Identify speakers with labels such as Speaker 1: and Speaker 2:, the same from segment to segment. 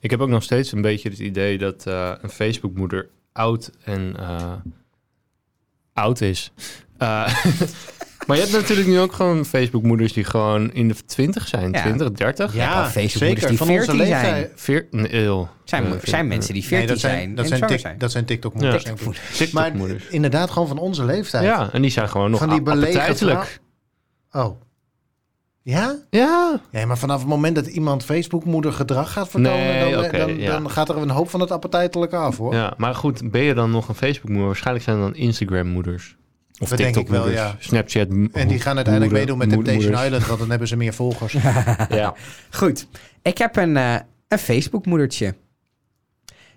Speaker 1: Ik heb ook nog steeds een beetje het idee dat eh, een Facebookmoeder oud en eh, oud is. Eh, maar je hebt natuurlijk nu ook gewoon Facebookmoeders die gewoon in de 20 zijn,
Speaker 2: Ja.
Speaker 1: 20, 30.
Speaker 2: Ja,
Speaker 3: Ja,
Speaker 2: Facebookmoeders
Speaker 3: zeker.
Speaker 2: die
Speaker 3: Van onze
Speaker 2: 14 zijn.
Speaker 3: leeftijd.
Speaker 1: Veer, nee, eeuw.
Speaker 2: Zijn,
Speaker 1: Eh,
Speaker 2: zijn
Speaker 1: veer-
Speaker 2: mensen die
Speaker 3: Nee,
Speaker 2: 14
Speaker 3: dat
Speaker 2: zijn
Speaker 3: zijn, dat
Speaker 2: en
Speaker 3: zijn,
Speaker 2: zwanger
Speaker 3: tik-
Speaker 2: zijn.
Speaker 3: dat zijn TikTok-moeders,
Speaker 1: Ja.
Speaker 3: denk ik. Maar
Speaker 1: eh, TikTok-moeders.
Speaker 3: inderdaad gewoon van onze leeftijd.
Speaker 1: Ja, en die zijn gewoon nog
Speaker 3: Van die
Speaker 1: a-
Speaker 3: belegen
Speaker 1: appetijtelijk.
Speaker 3: Oh. Ja?
Speaker 1: Ja,
Speaker 3: Nee, maar vanaf het moment dat iemand Facebook-moeder gedrag gaat vertonen...
Speaker 1: Nee,
Speaker 3: dan,
Speaker 1: oké,
Speaker 3: dan,
Speaker 1: ja.
Speaker 3: dan gaat er een hoop van het appetijtelijke af, hoor.
Speaker 1: ja, maar goed, ben je dan nog een Facebookmoeder? Waarschijnlijk zijn er dan Instagram-moeders. Of
Speaker 3: Dat denk ik wel,
Speaker 1: TikTok-moeders,
Speaker 3: ja.
Speaker 1: Snapchat.
Speaker 3: En die gaan uiteindelijk meedoen met Temptation Island, want dan hebben ze meer volgers.
Speaker 1: Ja.
Speaker 2: Goed, ik heb een, eh een Facebook-moedertje.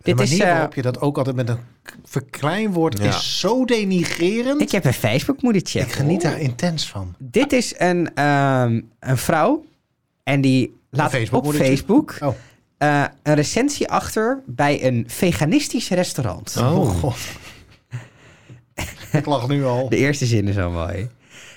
Speaker 3: De
Speaker 2: Dit
Speaker 3: manier
Speaker 2: is, eh,
Speaker 3: waarop je dat ook altijd met een k- verkleinwoord
Speaker 1: Ja.
Speaker 3: is zo denigrerend.
Speaker 2: ik heb een Facebook-moedertje.
Speaker 3: Ik geniet daar intens van.
Speaker 2: Dit is een, ehm, een vrouw en die laat
Speaker 3: Facebook
Speaker 2: op
Speaker 3: moedertje.
Speaker 2: Facebook
Speaker 3: Oh,
Speaker 2: eh, een recensie achter bij een veganistisch restaurant.
Speaker 1: Oh.
Speaker 3: oh god. ik lach nu al.
Speaker 2: De eerste zin is al mooi.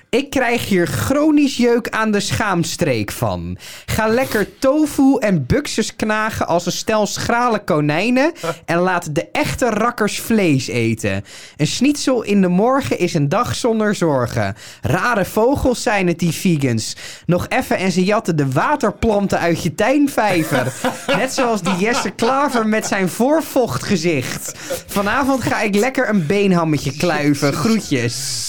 Speaker 2: Ik krijg hier chronisch jeuk aan de schaamstreek van. Ga lekker tofu en buxus knagen als een stel schrale konijnen. En laat de echte rakkers vlees eten. Een schnitzel in de morgen is een dag zonder zorgen. Rare vogels zijn het, die vegans. Nog even en ze jatten de waterplanten uit je tuinvijver. Net zoals die Jesse Klaver met zijn voorvochtgezicht. Vanavond ga ik lekker een beenhammetje kluiven. Groetjes.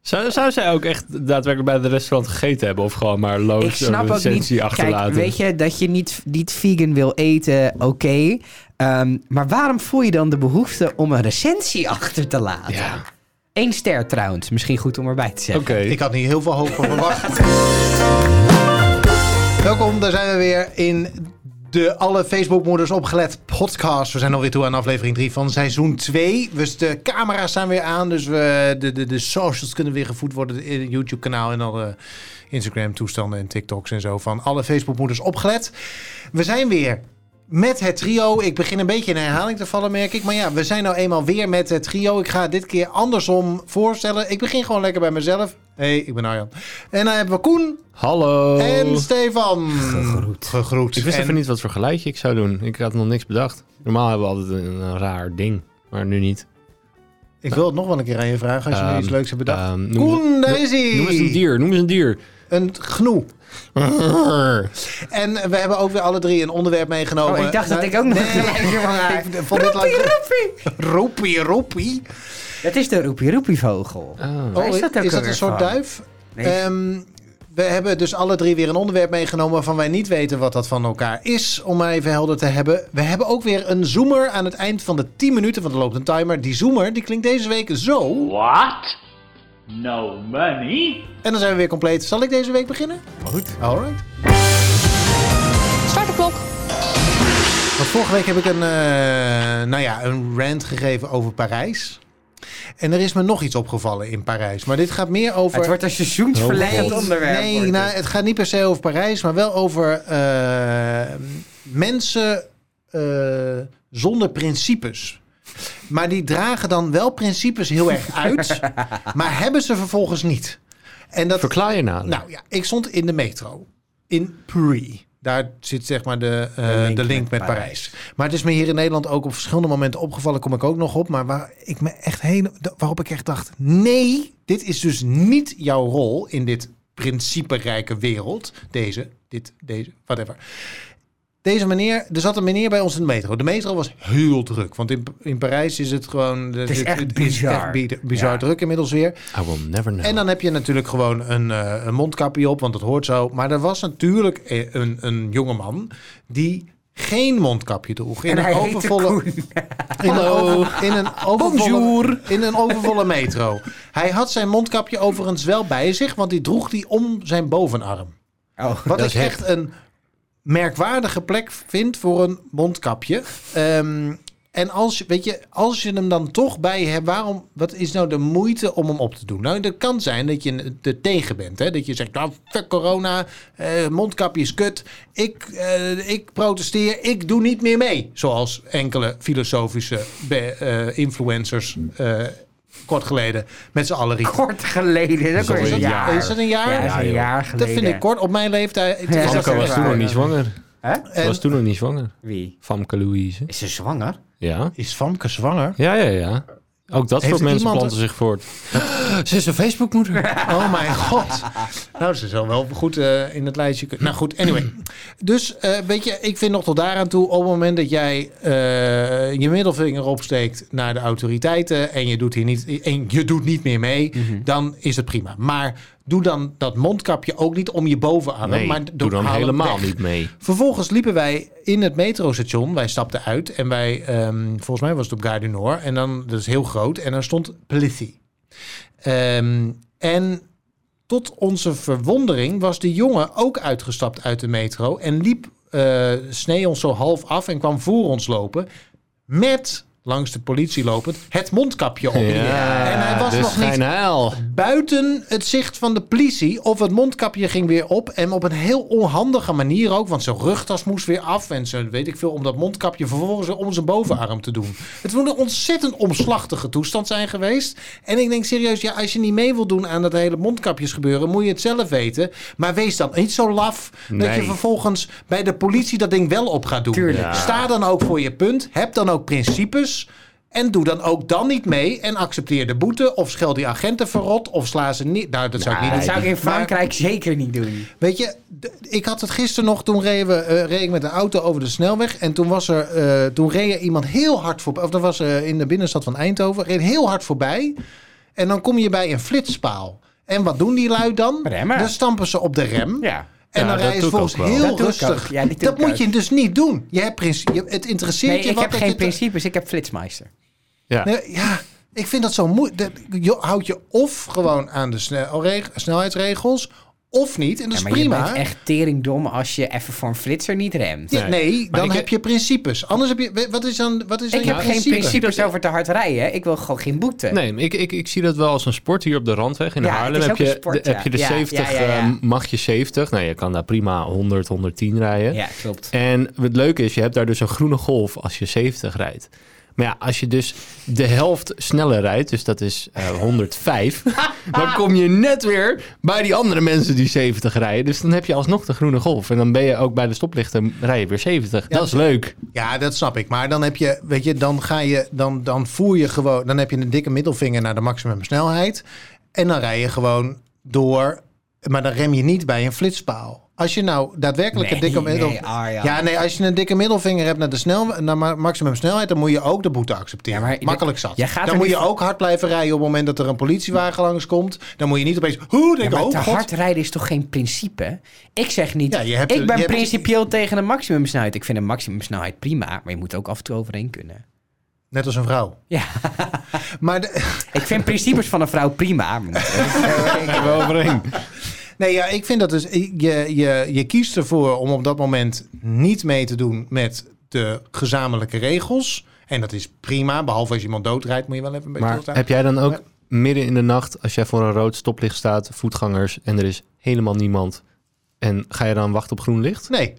Speaker 1: Zou, zou zij ook echt daadwerkelijk bij het restaurant gegeten hebben? Of gewoon maar loos
Speaker 2: Ik snap
Speaker 1: een
Speaker 2: ook niet.
Speaker 1: recensie Oh, achterlaten?
Speaker 2: Kijk, weet je dat je niet, niet vegan wil eten, oké. Ehm, maar waarom voel je dan de behoefte om een recensie achter te laten?
Speaker 1: Ja,
Speaker 2: Eén ster trouwens, misschien goed om erbij te
Speaker 1: oké.
Speaker 2: zeggen. Oh,
Speaker 3: Ik had niet heel veel hoop van verwacht. Welkom, daar zijn we weer in de Alle Facebookmoeders Opgelet podcast. We zijn alweer toe aan aflevering 3 van seizoen 2. Dus de camera's zijn weer aan, dus we, de, de, de socials kunnen weer gevoed worden. in het YouTube-kanaal en alle Instagram-toestanden en TikToks en zo van Alle Facebookmoeders Opgelet. We zijn weer met het trio. Ik begin een beetje in herhaling te vallen, merk ik. Maar ja, we zijn nou eenmaal weer met het trio. Ik ga het dit keer andersom voorstellen. Ik begin gewoon lekker bij mezelf. Hé, hey, ik ben Arjan. En dan hebben we Koen
Speaker 1: Hallo.
Speaker 3: en Stefan.
Speaker 2: Gegroet.
Speaker 3: Gegroet.
Speaker 1: Ik wist
Speaker 3: En
Speaker 1: even niet wat voor geluidje ik zou doen. Ik had nog niks bedacht. Normaal hebben we altijd een, een raar ding, maar nu niet.
Speaker 3: Ik wil het nog wel een keer aan je vragen als je nu
Speaker 1: Ehm,
Speaker 3: iets leuks hebt bedacht.
Speaker 1: Ehm, noem, eens-
Speaker 3: Koen, daar is hij.
Speaker 1: noem eens een dier, noem eens een dier.
Speaker 3: Een gnoe. En we hebben ook weer alle drie een onderwerp meegenomen.
Speaker 2: Oh, ik dacht dat ik ook nog een lijstje van haar-
Speaker 3: Ik vond dit lang-
Speaker 2: Roepie,
Speaker 3: Roepie, roepie.
Speaker 2: Dat is de roepie roepie vogel.
Speaker 1: Ah.
Speaker 2: Waar is dat ook alweer
Speaker 3: Oh, een soort
Speaker 2: van?
Speaker 3: duif?
Speaker 2: Nee.
Speaker 3: Ehm, we hebben dus alle drie weer een onderwerp meegenomen waarvan wij niet weten wat dat van elkaar is. Om maar even helder te hebben. We hebben ook weer een zoomer aan het eind van de 10 minuten, want er loopt een timer. Die zoomer die klinkt deze week zo.
Speaker 4: What? No money?
Speaker 3: En dan zijn we weer compleet. Zal ik deze week beginnen? Goed. Alright.
Speaker 5: Start de klok.
Speaker 3: Want vorige week heb ik een, eh, nou ja, een rant gegeven over Parijs. En er is me nog iets opgevallen in Parijs. Maar dit gaat meer over...
Speaker 2: Het wordt een seizoensverlengend
Speaker 1: Oh,
Speaker 2: onderwerp. wordt
Speaker 3: Nee,
Speaker 2: het.
Speaker 3: nou, het gaat niet per se over Parijs, maar wel over eh, mensen eh, zonder principes. Maar die dragen dan wel principes heel erg uit, maar hebben ze vervolgens niet. En dat,
Speaker 1: Verklaar je nader.
Speaker 3: nou ja, ik stond in de metro in Paris. Daar zit zeg maar de, eh, de link, met, Parijs. Maar het is me hier in Nederland ook op verschillende momenten opgevallen. Kom ik ook nog op. Maar waar ik me echt heen, waarop ik echt dacht: nee, dit is dus niet jouw rol in dit principerijke wereld. Deze, dit, deze, whatever. Deze meneer, er zat een meneer bij ons in de metro. De metro was heel druk. Want in, in Parijs is het gewoon. Het
Speaker 2: is echt bizar.
Speaker 3: bi- bizar
Speaker 2: Ja.
Speaker 3: druk inmiddels weer.
Speaker 1: I will never know.
Speaker 3: En dan heb je natuurlijk gewoon een, eh, een mondkapje op, want dat hoort zo. Maar er was natuurlijk eh, een, een jongeman die geen mondkapje droeg. In
Speaker 2: en hij
Speaker 3: een
Speaker 2: heette
Speaker 3: overvolle,
Speaker 2: Koen.
Speaker 3: in een, over- in, een overvolle, in een overvolle metro. Hij had zijn mondkapje overigens wel bij zich, want die droeg die om zijn bovenarm.
Speaker 2: Oh,
Speaker 3: Wat
Speaker 1: Dat
Speaker 3: ik
Speaker 1: is
Speaker 3: echt een merkwaardige plek vind voor een mondkapje. Ehm, en als je, weet je, als je hem dan toch bij je hebt, waarom, wat is nou de moeite om hem op te doen? Nou, dat kan zijn dat je er tegen bent. Hè? Dat je zegt, nou, fuck corona, eh, mondkapje is kut. Ik, eh, ik protesteer, ik doe niet meer mee. Zoals enkele filosofische be- eh, influencers eh, kort geleden met z'n allen riepen.
Speaker 2: kort geleden. Dat is
Speaker 1: alweer
Speaker 2: een
Speaker 1: een
Speaker 2: jaar.
Speaker 3: Is dat een jaar?
Speaker 2: Ja, dat is
Speaker 1: Ja,
Speaker 2: een
Speaker 1: joh.
Speaker 2: jaar
Speaker 3: Dat
Speaker 2: geleden.
Speaker 3: vind ik kort. Op mijn leeftijd.
Speaker 2: Ja,
Speaker 1: Anko
Speaker 2: dat is
Speaker 1: was toen
Speaker 2: waar.
Speaker 1: nog niet zwanger.
Speaker 2: Hè?
Speaker 1: Ze was toen nog niet zwanger.
Speaker 2: Wie?
Speaker 1: Famke Louise.
Speaker 2: Is ze zwanger?
Speaker 1: Ja.
Speaker 3: Is Famke zwanger?
Speaker 1: Ja, ja, ja. Ook dat
Speaker 3: Heeft
Speaker 1: soort mensen
Speaker 3: iemand-
Speaker 1: planten zich voort. Ze is een Facebookmoeder.
Speaker 3: Oh mijn god. Nou, ze zal wel goed eh, in het lijstje kunnen. Nou goed, anyway. Dus eh, weet je, ik vind nog tot daaraan toe... op het moment dat jij eh, je middelvinger opsteekt naar de autoriteiten... en je doet, hier niet, en je doet niet meer mee,
Speaker 1: Mhm.
Speaker 3: dan is het prima. Maar doe dan dat mondkapje ook niet om je bovenarm.
Speaker 1: Nee,
Speaker 3: maar
Speaker 1: doe dan
Speaker 3: haal hem
Speaker 1: helemaal
Speaker 3: weg.
Speaker 1: niet mee.
Speaker 3: Vervolgens liepen wij in het metrostation. Wij stapten uit en wij, ehm, volgens mij was het op Gare du Nord. En dan, dat is heel groot. En daar stond Plithy. Ehm, en tot onze verwondering was de jongen ook uitgestapt uit de metro. En liep, eh snee ons zo half af en kwam voor ons lopen. Met, langs de politie lopend, het mondkapje op. en hij was
Speaker 1: dus
Speaker 3: nog niet
Speaker 1: geen heil.
Speaker 3: buiten het zicht van de politie. Of het mondkapje ging weer op. En op een heel onhandige manier ook. Want zijn rugtas moest weer af. En zijn, weet ik veel, om dat mondkapje vervolgens om zijn bovenarm te doen. Het moet een ontzettend omslachtige toestand zijn geweest. En ik denk serieus, ja, als je niet mee wil doen aan dat hele mondkapjes gebeuren, moet je het zelf weten. Maar wees dan niet zo laf dat je
Speaker 1: Nee.
Speaker 3: vervolgens bij de politie dat ding wel op gaat doen.
Speaker 2: Tuurlijk. Ja.
Speaker 3: Sta dan ook voor je punt. Heb dan ook principes. En doe dan ook dan niet mee. En accepteer de boete. Of schel die agenten verrot. Of sla ze niet. Nou, dat zou ik niet
Speaker 2: Dat
Speaker 3: doen.
Speaker 2: zou ik in
Speaker 3: Maar,
Speaker 2: Frankrijk zeker niet doen.
Speaker 3: weet je, d- ik had het gisteren nog. Toen reden we, eh, reed ik met de auto over de snelweg. En toen, was er, eh, toen reed er iemand heel hard voorbij. Of dat was eh, in de binnenstad van Eindhoven. Reed heel hard voorbij. En dan kom je bij een flitspaal. En wat doen die lui dan?
Speaker 2: Remmen.
Speaker 3: Dan stampen ze op de rem.
Speaker 2: Ja.
Speaker 3: En
Speaker 1: Ja,
Speaker 3: dan
Speaker 1: dat
Speaker 3: rij je
Speaker 1: doe ik
Speaker 3: volgens
Speaker 1: ook wel.
Speaker 3: heel
Speaker 2: Dat doe ik ook.
Speaker 3: rustig.
Speaker 2: Ja, die doe
Speaker 3: dat
Speaker 2: ik
Speaker 3: moet
Speaker 2: ook.
Speaker 3: je dus niet doen. Je hebt principe, je- het interesseert
Speaker 2: Nee,
Speaker 3: je
Speaker 2: ik
Speaker 3: wat
Speaker 2: heb
Speaker 3: dat
Speaker 2: geen
Speaker 3: je te-
Speaker 2: principes, ik heb flitsmeister.
Speaker 1: Ja.
Speaker 3: Nee, ja, ik vind dat zo moeilijk. Je houdt je of gewoon aan de snel- reg- snelheidsregels, of niet. En dat
Speaker 2: Ja, maar
Speaker 3: is
Speaker 2: je
Speaker 3: prima.
Speaker 2: bent echt teringdom als je even voor een flitser niet remt.
Speaker 3: Ja, nee,
Speaker 1: Maar
Speaker 3: dan
Speaker 1: ik-
Speaker 3: heb je principes. Anders heb je. we- Wat is dan. Wat is dan
Speaker 2: Ik
Speaker 3: je
Speaker 2: heb geen principes over te hard rijden. hè. Ik wil gewoon geen boete.
Speaker 1: Nee, maar ik, ik, ik zie dat wel als een sport hier op de Randweg. In
Speaker 2: eh, Ja,
Speaker 1: Haarlem
Speaker 2: het is
Speaker 1: heb
Speaker 2: ook
Speaker 1: je,
Speaker 2: een sport,
Speaker 1: de,
Speaker 2: ja.
Speaker 1: heb je de
Speaker 2: Ja,
Speaker 1: 70,
Speaker 2: ja, ja, ja.
Speaker 1: eh, mag je 70. Nou, je kan daar prima 100, 110 rijden.
Speaker 2: Ja, klopt.
Speaker 1: En het leuke is, je hebt daar dus een groene golf als je 70 rijdt. Maar ja, als je dus de helft sneller rijdt, dus dat is eh, 105, dan kom je net weer bij die andere mensen die 70 rijden. Dus dan heb je alsnog de groene golf. En dan ben je ook bij de stoplichten, rij je weer 70. dat is leuk.
Speaker 3: Ja, dat snap ik. Maar dan heb je, weet je, dan ga je, dan, dan voer je gewoon, dan heb je een dikke middelvinger naar de maximumsnelheid. En dan rij je gewoon door, maar dan rem je niet bij een flitspaal. Als je nou daadwerkelijk een
Speaker 2: Nee,
Speaker 3: dikke middel...
Speaker 2: nee, Arjan.
Speaker 3: ja, nee, als je een dikke middelvinger hebt naar de snel, naar ma- maximumsnelheid, dan moet je ook de boete accepteren.
Speaker 2: Ja, maar-
Speaker 3: Makkelijk zat.
Speaker 2: Jij gaat
Speaker 3: dan
Speaker 2: er
Speaker 3: moet je
Speaker 2: niet-
Speaker 3: ook hard blijven rijden op het moment dat er een politiewagen langskomt. Dan moet je niet opeens, hoe,
Speaker 2: Ja,
Speaker 3: denk ik,
Speaker 2: maar
Speaker 3: oh
Speaker 2: te
Speaker 3: god.
Speaker 2: hard rijden is toch geen principe? Ik zeg niet,
Speaker 3: Ja, je hebt-
Speaker 2: ik ben
Speaker 3: je hebt-
Speaker 2: principieel tegen een maximumsnelheid. Ik vind een maximumsnelheid prima, maar je moet ook af en toe overheen kunnen.
Speaker 3: Net als een vrouw.
Speaker 2: Ja.
Speaker 3: Maar de-
Speaker 2: Ik vind principes van een vrouw prima. maar moet ook-
Speaker 3: Nee, ja, ik vind dat dus. Je, je, je kiest ervoor om op dat moment niet mee te doen met de gezamenlijke regels. En dat is prima, behalve als iemand doodrijdt, moet je wel even een beetje
Speaker 1: Maar
Speaker 3: opstaan.
Speaker 1: heb jij dan ook midden in de nacht, als jij voor een rood stoplicht staat, voetgangers en er is helemaal niemand, en ga je dan wachten op groen licht?
Speaker 3: Nee.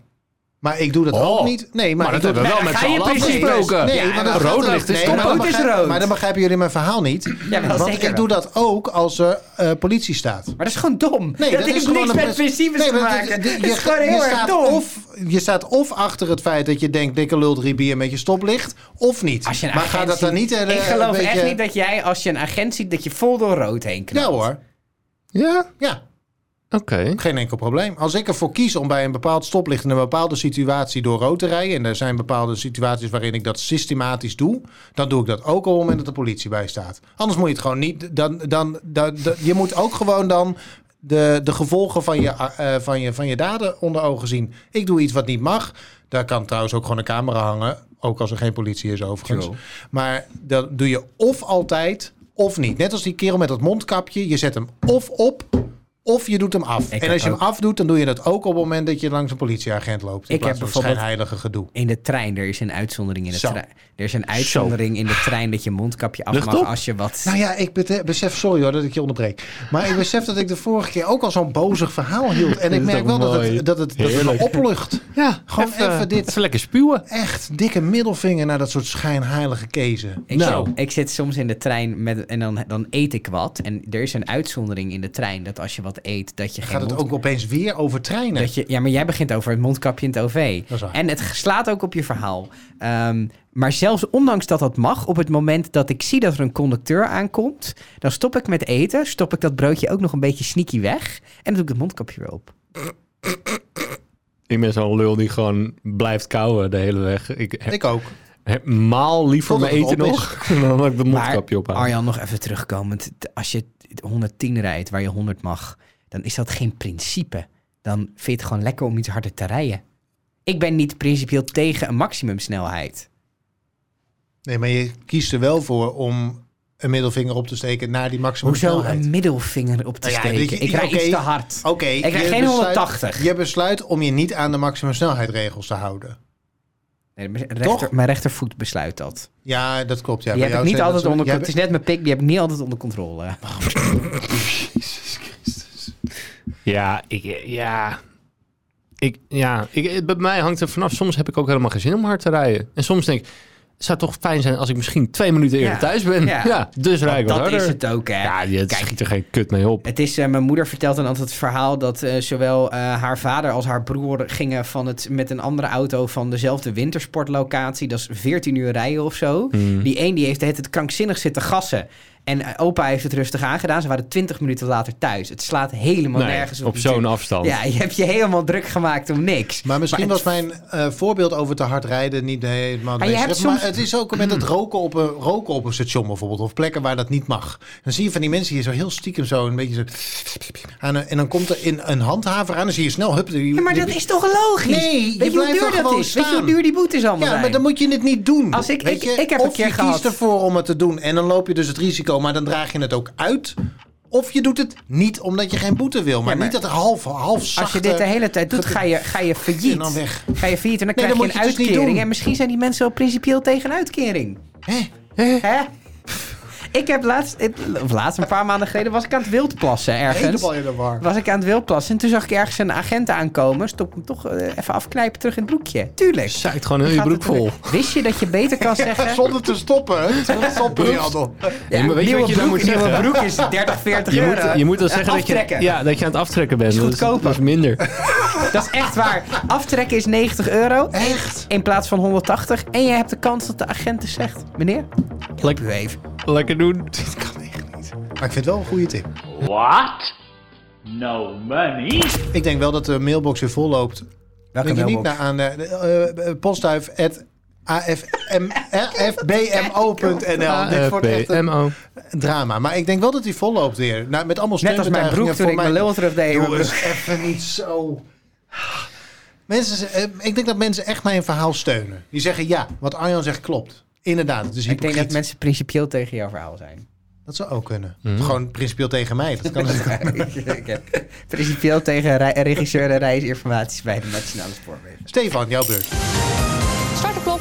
Speaker 3: Maar ik doe dat
Speaker 1: Oh.
Speaker 3: ook niet. Nee, maar, ik doe
Speaker 2: hebben we wel met
Speaker 1: z'n
Speaker 2: ga je
Speaker 1: allen
Speaker 2: precies.
Speaker 1: afgesproken.
Speaker 3: Nee, maar dat gaat
Speaker 1: rood
Speaker 3: er-
Speaker 1: licht is
Speaker 3: nee,
Speaker 1: toch
Speaker 3: maar dan
Speaker 2: rood is
Speaker 3: begrijp-
Speaker 2: rood.
Speaker 3: Maar dan begrijpen jullie mijn verhaal niet.
Speaker 2: Ja, wel,
Speaker 3: want
Speaker 2: zeker
Speaker 3: ik
Speaker 2: wel.
Speaker 3: doe dat ook als er eh, politie staat.
Speaker 2: Maar dat is gewoon dom.
Speaker 3: Nee,
Speaker 2: dat heeft niks
Speaker 3: gewoon een
Speaker 2: met
Speaker 3: pres-
Speaker 2: principes
Speaker 3: Nee,
Speaker 2: te
Speaker 3: maar dit-
Speaker 2: maken.
Speaker 3: dit-
Speaker 2: Dat
Speaker 3: je
Speaker 2: is
Speaker 3: ga-
Speaker 2: gewoon
Speaker 3: je
Speaker 2: heel erg
Speaker 3: staat
Speaker 2: dom.
Speaker 3: Of, je staat of achter het feit dat je denkt, dikke lul drie bier met je stoplicht, of niet.
Speaker 2: Als je een
Speaker 3: maar
Speaker 2: agent
Speaker 3: gaat dat dan
Speaker 2: ziet-
Speaker 3: niet... eh,
Speaker 2: Ik geloof
Speaker 3: een
Speaker 2: echt
Speaker 3: beetje-
Speaker 2: niet dat jij, als je een agent ziet, dat je vol door rood heen knalt.
Speaker 3: Ja hoor,
Speaker 1: Ja.
Speaker 3: ja.
Speaker 1: Oké.
Speaker 3: Geen enkel probleem. Als ik ervoor kies om bij een bepaald stoplicht in een bepaalde situatie door rood te rijden, en er zijn bepaalde situaties waarin ik dat systematisch doe, dan doe ik dat ook op het moment dat de politie bij staat. Anders moet je het gewoon niet. Dan, dan, dan, dan- je moet ook gewoon dan de, de gevolgen van je, eh, van, je, van je daden onder ogen zien. Ik doe iets wat niet mag. Daar kan trouwens ook gewoon een camera hangen, ook als er geen politie is overigens.
Speaker 2: True.
Speaker 3: Maar dat doe je of altijd of niet. Net als die kerel met dat mondkapje. Je zet hem of op. Of je doet hem af.
Speaker 2: Ik
Speaker 3: en
Speaker 2: heb
Speaker 3: als je
Speaker 2: ook-
Speaker 3: hem afdoet, dan doe je dat ook op het moment dat je langs een politieagent loopt.
Speaker 2: Ik
Speaker 3: In ik plaats
Speaker 2: heb
Speaker 3: heb van het
Speaker 2: bijvoorbeeld-
Speaker 3: schijnheilige gedoe.
Speaker 2: In de trein, er is een uitzondering in de
Speaker 3: Zo.
Speaker 2: trein. Er is een uitzondering in de trein dat je mondkapje af
Speaker 1: Lucht
Speaker 2: mag
Speaker 1: op.
Speaker 2: als je wat...
Speaker 3: Nou ja, ik bete- besef, sorry hoor dat ik je onderbreek. Maar ik besef dat ik de vorige keer ook al zo'n bozig verhaal hield. En ik
Speaker 1: is
Speaker 3: merk
Speaker 1: toch
Speaker 3: wel dat
Speaker 1: mooi.
Speaker 3: het, dat het, dat het me
Speaker 1: Heerlijk.
Speaker 3: oplucht.
Speaker 1: Ja,
Speaker 3: Gewoon
Speaker 2: eh.
Speaker 3: even dit.
Speaker 1: Even lekker spuwen.
Speaker 3: Echt dikke middelvinger naar dat soort schijnheilige kezen.
Speaker 2: Ik,
Speaker 1: Nou.
Speaker 2: zit, ik zit soms in de trein met, en dan, dan eet ik wat. En er is een uitzondering in de trein dat als je wat eet, dat je geen
Speaker 3: Gaat het
Speaker 2: mond-
Speaker 3: ook opeens weer over treinen?
Speaker 2: dat je, ja, maar jij begint over het mondkapje in het OV.
Speaker 3: Dat is waar.
Speaker 2: En het slaat ook op je verhaal. Ehm, maar zelfs ondanks dat dat mag, op het moment dat ik zie dat er een conducteur aankomt, dan stop ik met eten, stop ik dat broodje ook nog een beetje sneaky weg en dan doe ik het mondkapje weer op.
Speaker 1: Ik ben zo'n lul die gewoon blijft kauwen de hele weg. Ik heb,
Speaker 3: Ik ook.
Speaker 1: heb maal liever
Speaker 3: Tot
Speaker 1: mijn
Speaker 3: het
Speaker 1: eten
Speaker 3: op is.
Speaker 1: nog dan dat ik de mondkapje op
Speaker 2: maar Arjan, nog even terugkomend. t- Als je t- 110 rijdt waar je 100 mag, dan is dat geen principe. Dan vind je het gewoon lekker om iets harder te rijden. Ik ben niet principieel tegen een maximumsnelheid.
Speaker 3: Nee, maar je kiest er wel voor om een middelvinger op te steken naar die maximum
Speaker 2: Hoezo
Speaker 3: snelheid.
Speaker 2: een middelvinger op te
Speaker 3: Nou ja,
Speaker 2: steken?
Speaker 3: dat je-
Speaker 2: ik rij
Speaker 3: oké,
Speaker 2: iets te hard.
Speaker 3: Oké.
Speaker 2: Ik rijd
Speaker 3: je
Speaker 2: geen
Speaker 3: besluit-
Speaker 2: 180.
Speaker 3: Je besluit om je niet aan de maximum snelheidregels te houden.
Speaker 2: Nee, mijn, rechter,
Speaker 3: Toch?
Speaker 2: mijn rechtervoet besluit dat.
Speaker 3: Ja, dat klopt. Ja.
Speaker 2: die heb
Speaker 3: Bij
Speaker 2: ik
Speaker 3: jou
Speaker 2: niet
Speaker 3: zijn
Speaker 2: altijd
Speaker 3: dat
Speaker 2: onder
Speaker 3: zo-
Speaker 2: controle. Het is net mijn pik, die heb ik niet altijd onder controle.
Speaker 1: Ja, ik, ja. Ik, ja ik, het- bij mij hangt er vanaf. Soms heb ik ook helemaal geen zin om hard te rijden. En soms denk ik, het zou toch fijn zijn als ik misschien twee minuten eerder
Speaker 2: Ja.
Speaker 1: thuis ben.
Speaker 2: Ja.
Speaker 1: Ja, dus rijd ik wat
Speaker 2: dat
Speaker 1: harder.
Speaker 2: is het ook, hè.
Speaker 1: Ja, je
Speaker 2: Kijk.
Speaker 1: schiet er geen kut mee op.
Speaker 2: Het is, eh, mijn moeder vertelt dan altijd het verhaal dat eh, zowel eh, haar vader als haar broer gingen van het, met een andere auto van dezelfde wintersportlocatie. Dat is 14 uur rijden of zo.
Speaker 1: Hmm.
Speaker 2: Die een die heeft het, het krankzinnig zitten gassen. En eh, opa heeft het rustig aangedaan. Ze waren 20 minuten later thuis. Het slaat helemaal
Speaker 1: Nee,
Speaker 2: nergens op.
Speaker 1: op zo'n
Speaker 2: natuurlijk.
Speaker 1: afstand.
Speaker 2: Ja, je hebt je helemaal druk gemaakt om niks.
Speaker 3: Maar misschien
Speaker 2: het-
Speaker 3: was mijn eh, voorbeeld over te hard rijden niet helemaal
Speaker 2: Maar je
Speaker 3: meest
Speaker 2: hebt
Speaker 3: recht. Maar
Speaker 2: soms-
Speaker 3: het is ook met het roken op, een, roken op een station bijvoorbeeld. Of plekken waar dat niet mag. Dan zie je van die mensen hier zo heel stiekem zo een beetje zo... aan een- en dan komt er in een handhaver aan. Dan zie je snel... Hup, die-
Speaker 2: Ja, maar dat
Speaker 3: die-
Speaker 2: is toch logisch?
Speaker 3: Nee, je
Speaker 2: Weet hoe
Speaker 3: blijft
Speaker 2: duur
Speaker 3: er
Speaker 2: dat
Speaker 3: gewoon
Speaker 2: is? Weet je hoe
Speaker 3: staan.
Speaker 2: duur die boetes allemaal
Speaker 3: Ja,
Speaker 2: zijn?
Speaker 3: maar dan moet je het niet doen.
Speaker 2: Als ik-
Speaker 3: Weet
Speaker 2: ik-
Speaker 3: je?
Speaker 2: ik heb een
Speaker 3: of
Speaker 2: keer
Speaker 3: je
Speaker 2: gehad-
Speaker 3: kiest ervoor om het te doen. En dan loop je dus het risico. Maar dan draag je het ook uit. Of je doet het niet omdat je geen boete wil. Maar,
Speaker 2: Ja, maar-
Speaker 3: niet dat er half, half
Speaker 2: Als je
Speaker 3: zachte-
Speaker 2: dit de hele tijd doet, ga je, ga je failliet.
Speaker 3: En dan weg.
Speaker 2: Ga je failliet en dan
Speaker 3: Nee,
Speaker 2: krijg
Speaker 3: dan
Speaker 2: je
Speaker 3: moet
Speaker 2: een
Speaker 3: je het dus niet
Speaker 2: uitkering.
Speaker 3: doen.
Speaker 2: en misschien zijn die mensen wel principieel tegen een uitkering.
Speaker 3: Hè?
Speaker 1: Eh.
Speaker 2: Hè? Ik heb laatst, het- of laatst, een paar maanden geleden, was ik aan het wildplassen ergens.
Speaker 3: Helemaal in de war.
Speaker 2: Was ik aan het wildplassen en toen zag ik ergens een agent aankomen. Stop hem toch eh, even afknijpen terug in het broekje. Tuurlijk.
Speaker 1: Zuigt gewoon heel je
Speaker 2: Gaat
Speaker 1: broek
Speaker 2: het-
Speaker 1: vol.
Speaker 2: Wist je dat je beter kan zeggen...
Speaker 3: Zonder te stoppen. hè? Zonder te stoppen, Rianne.
Speaker 1: Nee, maar weet je
Speaker 2: nieuwe
Speaker 1: wat je dan
Speaker 2: broek,
Speaker 1: moet zeggen?
Speaker 2: nieuwe broek is 30, 40
Speaker 1: Je
Speaker 2: euro.
Speaker 1: moet, je moet dan zeggen dat je,
Speaker 2: Aftrekken.
Speaker 1: ja, dat je aan het aftrekken bent. Dat
Speaker 2: goedkoper.
Speaker 1: Dat is minder.
Speaker 2: Dat is echt waar. Aftrekken is 90 euro.
Speaker 3: Echt?
Speaker 2: In plaats van 180. En je hebt de kans dat de agent dus zegt: Meneer, ik heb u even.
Speaker 1: Lekker doen.
Speaker 3: Dit kan echt niet. Maar ik vind het wel een goede tip.
Speaker 4: What? No money?
Speaker 3: Ik denk wel dat de mailbox weer vol loopt. Denk je niet naar aan de, de, eh, eh, postduif at AFM afbmo.nl. Dit wordt echt een
Speaker 1: AFBMO.
Speaker 3: drama. Maar ik denk wel dat die vol loopt weer. Nou, met allemaal
Speaker 2: Net als mijn broek
Speaker 3: steunbetuigingen
Speaker 2: toen ik mijn lul terugdeed.
Speaker 3: Doe eens even niet zo. Mensen, eh, ik denk dat mensen echt mijn verhaal steunen. Die zeggen ja, wat Arjan zegt klopt. Inderdaad, het is
Speaker 2: Ik denk dat
Speaker 3: hypocriet.
Speaker 2: mensen principieel tegen jouw verhaal zijn.
Speaker 3: Dat zou ook kunnen. Gewoon principieel tegen mij. Dat kan natuurlijk ook.
Speaker 2: ik heb principieel tegen rei- regisseur en reisinformaties bij de Nationale Spoorwegen.
Speaker 3: Stefan, jouw beurt.
Speaker 5: Start de klok.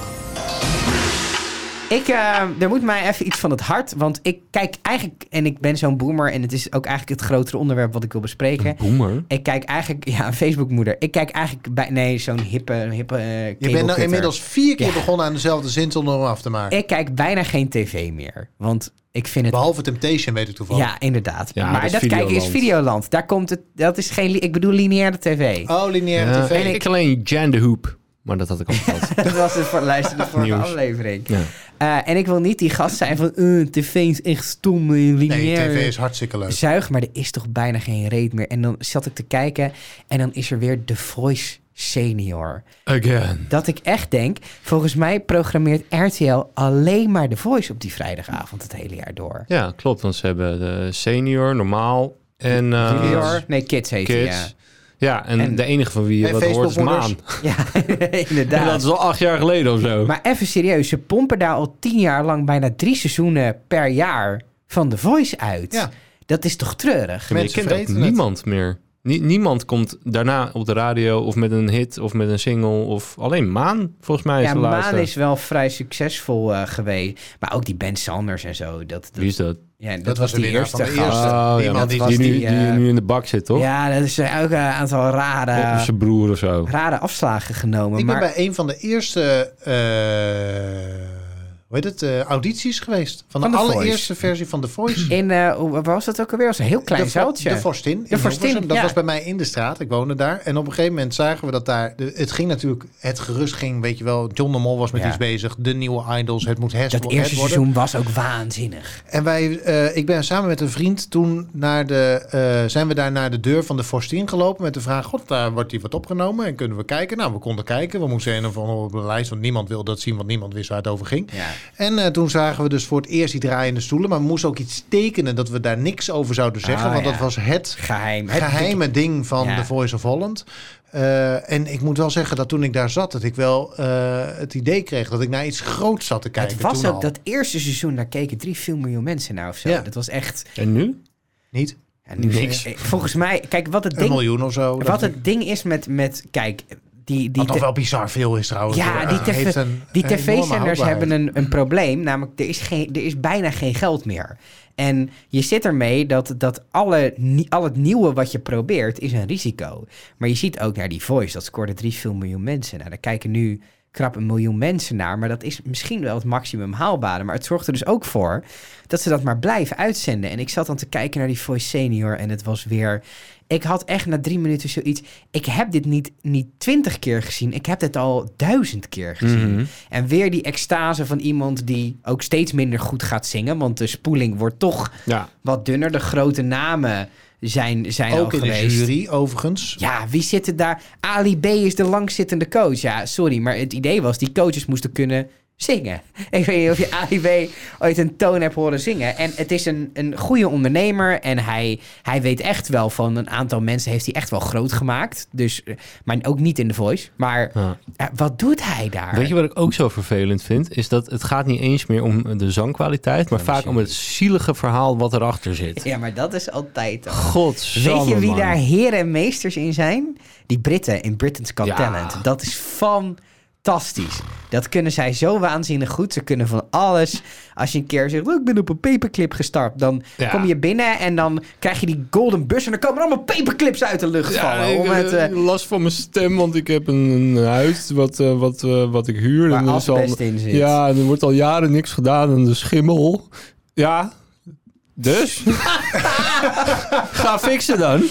Speaker 2: Ik, eh, er moet mij even iets van het hart. Want ik kijk eigenlijk, en ik ben zo'n boomer. En het is ook eigenlijk het grotere onderwerp wat ik wil bespreken.
Speaker 1: Boemer.
Speaker 2: Ik kijk eigenlijk, ja, een Facebookmoeder. Ik kijk eigenlijk bij, nee, zo'n hippe, hippe eh,
Speaker 3: Je bent nou
Speaker 2: cablecutter.
Speaker 3: inmiddels vier keer
Speaker 2: Ja.
Speaker 3: begonnen aan dezelfde zin zonder hem af te maken.
Speaker 2: Ik kijk bijna geen tv meer. Want ik vind het.
Speaker 3: Behalve Temptation weet ik toevallig.
Speaker 2: Ja, inderdaad.
Speaker 1: Ja,
Speaker 2: maar
Speaker 1: dat is
Speaker 2: dat kijken is
Speaker 1: Videoland.
Speaker 2: Videoland. Daar komt het. Dat is geen. li- Ik bedoel lineaire tv.
Speaker 3: Oh, lineaire
Speaker 1: Ja,
Speaker 3: tv.
Speaker 1: ik, alleen Jan de Hoop. Maar dat had ik al gehad.
Speaker 2: Dat was het voor luister de vorige
Speaker 1: Nieuws.
Speaker 2: aflevering.
Speaker 1: Ja.
Speaker 2: Eh, en ik wil niet die gast zijn van. eh, tv is echt stom. eh,
Speaker 3: Nee,
Speaker 2: lineair.
Speaker 3: tv is hartstikke leuk.
Speaker 2: Zuig, maar er is toch bijna geen reet meer. En dan zat ik te kijken. En dan is er weer The Voice Senior.
Speaker 1: Again.
Speaker 2: dat ik echt denk, volgens mij programmeert RTL alleen maar The Voice op die vrijdagavond het hele jaar door.
Speaker 1: Ja, klopt. Want ze hebben de senior, normaal en eh,
Speaker 2: Junior? Nee, Kids heet die,
Speaker 1: kids. Ja, en,
Speaker 2: En-
Speaker 1: de enige van wie je
Speaker 3: En
Speaker 1: wat hoort is Maan.
Speaker 3: Facebookmoeders.
Speaker 2: ja.
Speaker 1: En
Speaker 2: Ja,
Speaker 1: dat
Speaker 2: inderdaad.
Speaker 1: is al acht jaar geleden of zo.
Speaker 2: Maar even serieus, ze pompen daar al tien jaar lang bijna drie seizoenen per jaar van The Voice uit.
Speaker 3: Ja.
Speaker 2: Dat is toch
Speaker 1: Ja,
Speaker 2: treurig?
Speaker 1: maar je
Speaker 3: mensen
Speaker 1: kent ook
Speaker 3: vreten het.
Speaker 1: niemand meer. Nie- niemand komt daarna op de radio of met een hit of met een single. Of alleen Maan, volgens mij, is
Speaker 2: Ja,
Speaker 1: de
Speaker 2: Maan
Speaker 1: laatste.
Speaker 2: is wel vrij succesvol eh, geweest. Maar ook die Ben Sanders en zo. Dat, dat,
Speaker 1: Wie is dat?
Speaker 2: ja, dat,
Speaker 3: Dat was
Speaker 2: was
Speaker 3: de
Speaker 2: die
Speaker 3: winnaar
Speaker 2: eerste,
Speaker 3: van de
Speaker 2: gast.
Speaker 3: eerste.
Speaker 1: Oh,
Speaker 3: Die
Speaker 1: ja,
Speaker 3: man
Speaker 1: dat
Speaker 3: die-
Speaker 1: was die,
Speaker 2: die,
Speaker 1: nu, die
Speaker 2: eh,
Speaker 1: nu in de bak zit, toch?
Speaker 2: Ja, eh, dat is eh, ook een aantal
Speaker 1: Of
Speaker 2: rare,
Speaker 1: zijn broer of zo.
Speaker 2: rare afslagen genomen.
Speaker 3: dus Ik
Speaker 2: maar...
Speaker 3: ben bij een van de eerste eh, hoe heet het, eh, audities geweest. Van,
Speaker 2: Van
Speaker 3: de
Speaker 2: The Voice.
Speaker 3: allereerste versie van The Voice.
Speaker 2: In, eh, hoe- waar was dat ook alweer? was een heel klein
Speaker 3: de, vo-
Speaker 2: zaaltje.
Speaker 3: de Vorstin. in
Speaker 2: De Vorstin,
Speaker 3: Hilversum. Dat
Speaker 2: ja.
Speaker 3: was bij mij in de straat. Ik woonde daar. En op een gegeven moment zagen we dat daar... de- het ging natuurlijk... Het gerust ging, weet je wel. John de Mol was met
Speaker 2: Ja.
Speaker 3: iets bezig. De nieuwe Idols. Het moet Hes
Speaker 2: dat
Speaker 3: het
Speaker 2: eerste
Speaker 3: worden.
Speaker 2: seizoen was ook waanzinnig.
Speaker 3: En wij, eh, ik ben samen met een vriend toen naar de, eh, zijn we daar naar de deur van de Forstin gelopen met de vraag: God, daar wordt hier wat opgenomen en kunnen we kijken? Nou, we konden kijken. We moesten een of andere op de lijst, want niemand wilde dat zien, want niemand wist waar het over ging.
Speaker 2: Ja.
Speaker 3: En eh, toen zagen we dus voor het eerst die draaiende stoelen, maar we moesten ook iets tekenen dat we daar niks over zouden zeggen,
Speaker 2: Ah,
Speaker 3: want
Speaker 2: ja.
Speaker 3: dat was het
Speaker 2: Geheim. Het-
Speaker 3: geheime ding van
Speaker 2: Ja.
Speaker 3: The Voice of Holland. Eh, en ik moet wel zeggen dat toen ik daar zat, dat ik wel eh, het idee kreeg dat ik naar iets groots zat te kijken.
Speaker 2: Het was
Speaker 3: toen
Speaker 2: ook
Speaker 3: al.
Speaker 2: dat eerste seizoen, daar keken 3, 4 miljoen mensen naar of zo.
Speaker 3: Ja.
Speaker 2: Dat was echt...
Speaker 1: En nu?
Speaker 3: niet
Speaker 2: ja, nu is-
Speaker 1: Niks.
Speaker 2: eh, volgens mij, kijk, wat het
Speaker 3: een
Speaker 2: ding,
Speaker 3: miljoen of zo.
Speaker 2: wat het ding is met, met kijk, die, die,
Speaker 3: Wat nog wel bizar veel is trouwens. Eh,
Speaker 2: Ja, die, tv
Speaker 3: heeft een
Speaker 2: die
Speaker 3: enorme
Speaker 2: tv-zenders
Speaker 3: houdbaarheid.
Speaker 2: hebben een, een probleem. Namelijk, er is, geen, er is bijna geen geld meer. En je zit ermee dat, dat alle, nie- al het nieuwe wat je probeert is een risico. Maar je ziet ook naar die Voice, dat scoorde 3, 4 miljoen mensen. Nou, daar kijken nu krap een miljoen mensen naar. Maar dat is misschien wel het maximum haalbare. Maar het zorgt er dus ook voor dat ze dat maar blijven uitzenden. En ik zat dan te kijken naar die Voice Senior en het was weer... Ik had echt na drie minuten zoiets... Ik heb dit niet, niet twintig keer gezien. Ik heb dit al duizend keer gezien.
Speaker 3: Mhm.
Speaker 2: En weer die extase van iemand die ook steeds minder goed gaat zingen. Want de spoeling wordt toch
Speaker 1: Ja.
Speaker 2: wat dunner. De grote namen zijn, zijn al
Speaker 3: Ook in
Speaker 2: geweest.
Speaker 3: de jury overigens.
Speaker 2: Ja, wie zit er daar? Ali B is de langzittende coach. Ja, sorry, maar het idee was die coaches moesten kunnen zingen. Ik weet niet of je Ali B ooit een toon hebt horen zingen. En het is een, een goede ondernemer en hij, hij weet echt wel van een aantal mensen heeft hij echt wel groot gemaakt. Dus, eh, maar ook niet in The Voice. Maar
Speaker 1: Ja.
Speaker 2: eh, wat doet hij daar?
Speaker 1: Ah. Weet je wat ik ook zo vervelend vind? Is dat het gaat niet eens meer om de zangkwaliteit, maar vaak om het zielige verhaal wat erachter zit.
Speaker 2: Ja, maar dat is altijd... al.
Speaker 1: Godsamme,
Speaker 2: Weet je wie
Speaker 1: man.
Speaker 2: daar heren en meesters in zijn? Die Britten in Britain's Got
Speaker 1: Ja.
Speaker 2: Talent. Dat is fantastisch. Dat kunnen zij zo waanzinnig goed. Ze kunnen van alles. Als je een keer zegt, "Oh, ik ben op een paperclip gestart. Dan
Speaker 1: Ja.
Speaker 2: kom je binnen en dan krijg je die golden bus. En dan komen er allemaal paperclips uit de lucht vallen. Om het, eh,
Speaker 1: last van mijn stem, want ik heb een, een huis wat, eh, wat, eh, wat ik huur.
Speaker 2: Waar
Speaker 1: En er is al-
Speaker 2: asbest in zit.
Speaker 1: Ja, en er wordt al jaren niks gedaan aan de schimmel. Ja, dus? Ga fixen dan.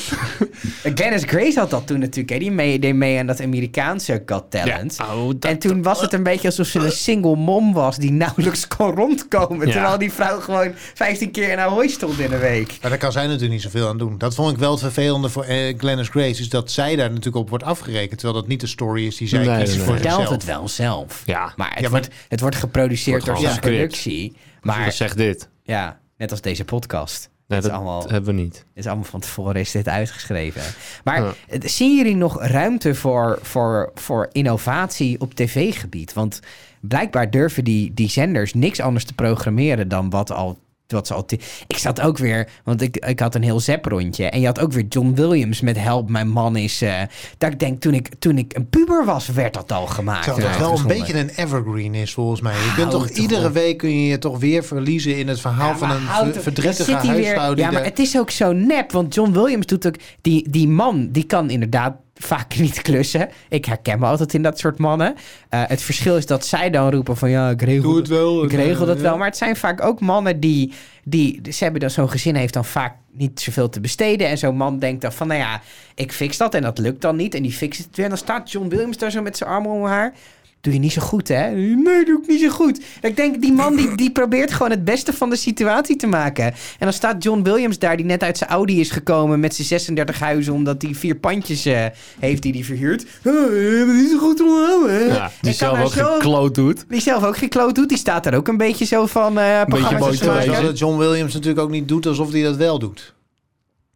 Speaker 2: Glennis Grace had dat toen natuurlijk. Hè. Die mee, deed mee aan dat Amerikaanse Got Talent.
Speaker 1: Oh, dat-
Speaker 2: En toen was het een beetje alsof ze een single mom was die nauwelijks kon rondkomen.
Speaker 1: Ja.
Speaker 2: Terwijl die vrouw gewoon 15 keer in haar hooi stond in een week.
Speaker 3: Maar daar kan zij natuurlijk niet zoveel aan doen. Dat vond ik wel het vervelende voor eh, Glennis Grace. Is dat zij daar natuurlijk op wordt afgerekend. Terwijl dat niet de story is die zij
Speaker 1: Nee,
Speaker 3: kiest
Speaker 1: nee,
Speaker 3: voor
Speaker 1: nee.
Speaker 2: Vertelt
Speaker 3: zichzelf.
Speaker 2: het wel zelf.
Speaker 1: Ja.
Speaker 2: Maar het,
Speaker 3: Ja, maar-
Speaker 2: wordt, het wordt geproduceerd
Speaker 1: Wordt
Speaker 2: door
Speaker 1: gewoon
Speaker 2: zijn
Speaker 1: gescript.
Speaker 2: productie. Maar
Speaker 1: Zeg dit.
Speaker 2: ja, net als deze podcast.
Speaker 1: Nee,
Speaker 2: het
Speaker 1: dat eh,
Speaker 2: is allemaal,
Speaker 1: hebben we niet.
Speaker 2: het is allemaal van tevoren is dit uitgeschreven. Maar
Speaker 1: Ja.
Speaker 2: eh, zien jullie nog ruimte voor, voor, voor innovatie op tv-gebied? Want blijkbaar durven die, die zenders niks anders te programmeren dan wat al. Wat ze al te- ik zat ook weer, want ik, ik had een heel zep-rondje. En je had ook weer John Williams met Help, mijn man is. eh dat ik denk, toen ik, toen ik een puber was, werd dat al gemaakt.
Speaker 3: Terwijl dat
Speaker 2: en
Speaker 3: wel een
Speaker 2: uitgezonden.
Speaker 3: beetje een evergreen is volgens mij. Je kunt
Speaker 2: Houd
Speaker 3: toch
Speaker 2: toch
Speaker 3: iedere
Speaker 2: op.
Speaker 3: week kun je je toch weer verliezen in het verhaal
Speaker 2: Ja,
Speaker 3: van
Speaker 2: maar
Speaker 3: een
Speaker 2: houd
Speaker 3: ver-
Speaker 2: het-
Speaker 3: verdrietige
Speaker 2: zit hij weer-
Speaker 3: huisvrouw. die
Speaker 2: Ja, maar
Speaker 3: daar-
Speaker 2: het is ook zo nep. Want John Williams doet ook... Die, die man, die kan inderdaad vaak niet klussen. Ik herken me altijd in dat soort mannen. Eh, het verschil is dat zij dan roepen van... Ja, ik regel,
Speaker 3: Doe het wel.
Speaker 2: ik regel dat
Speaker 3: Ja.
Speaker 2: wel. Maar het zijn vaak ook mannen die... die ze hebben dan zo'n gezin heeft dan vaak niet zoveel te besteden. En zo'n man denkt dan van... Nou ja, ik fix dat. En dat lukt dan niet. En die fixt het weer. En dan staat John Williams daar zo met zijn armen om haar... Doe je niet zo goed, hè? Nee, doe ik niet zo goed. Ik denk, die man die, die probeert gewoon het beste van de situatie te maken. En dan staat John Williams daar, die net uit zijn Audi is gekomen met zijn 36 huizen, omdat hij vier pandjes eh, heeft die hij verhuurt. Eh, eh, niet zo goed onderhouden, hè?
Speaker 1: Ja, die
Speaker 2: Ik
Speaker 1: zelf
Speaker 2: kan daar
Speaker 1: ook
Speaker 2: zo-
Speaker 1: geen kloot doet.
Speaker 2: Die zelf ook geen kloot doet. Die staat daar ook een beetje zo van eh programma's
Speaker 1: boos
Speaker 2: te
Speaker 1: te
Speaker 2: maken.
Speaker 1: wezen.
Speaker 3: Terwijl dat John Williams natuurlijk ook niet doet alsof hij dat wel doet.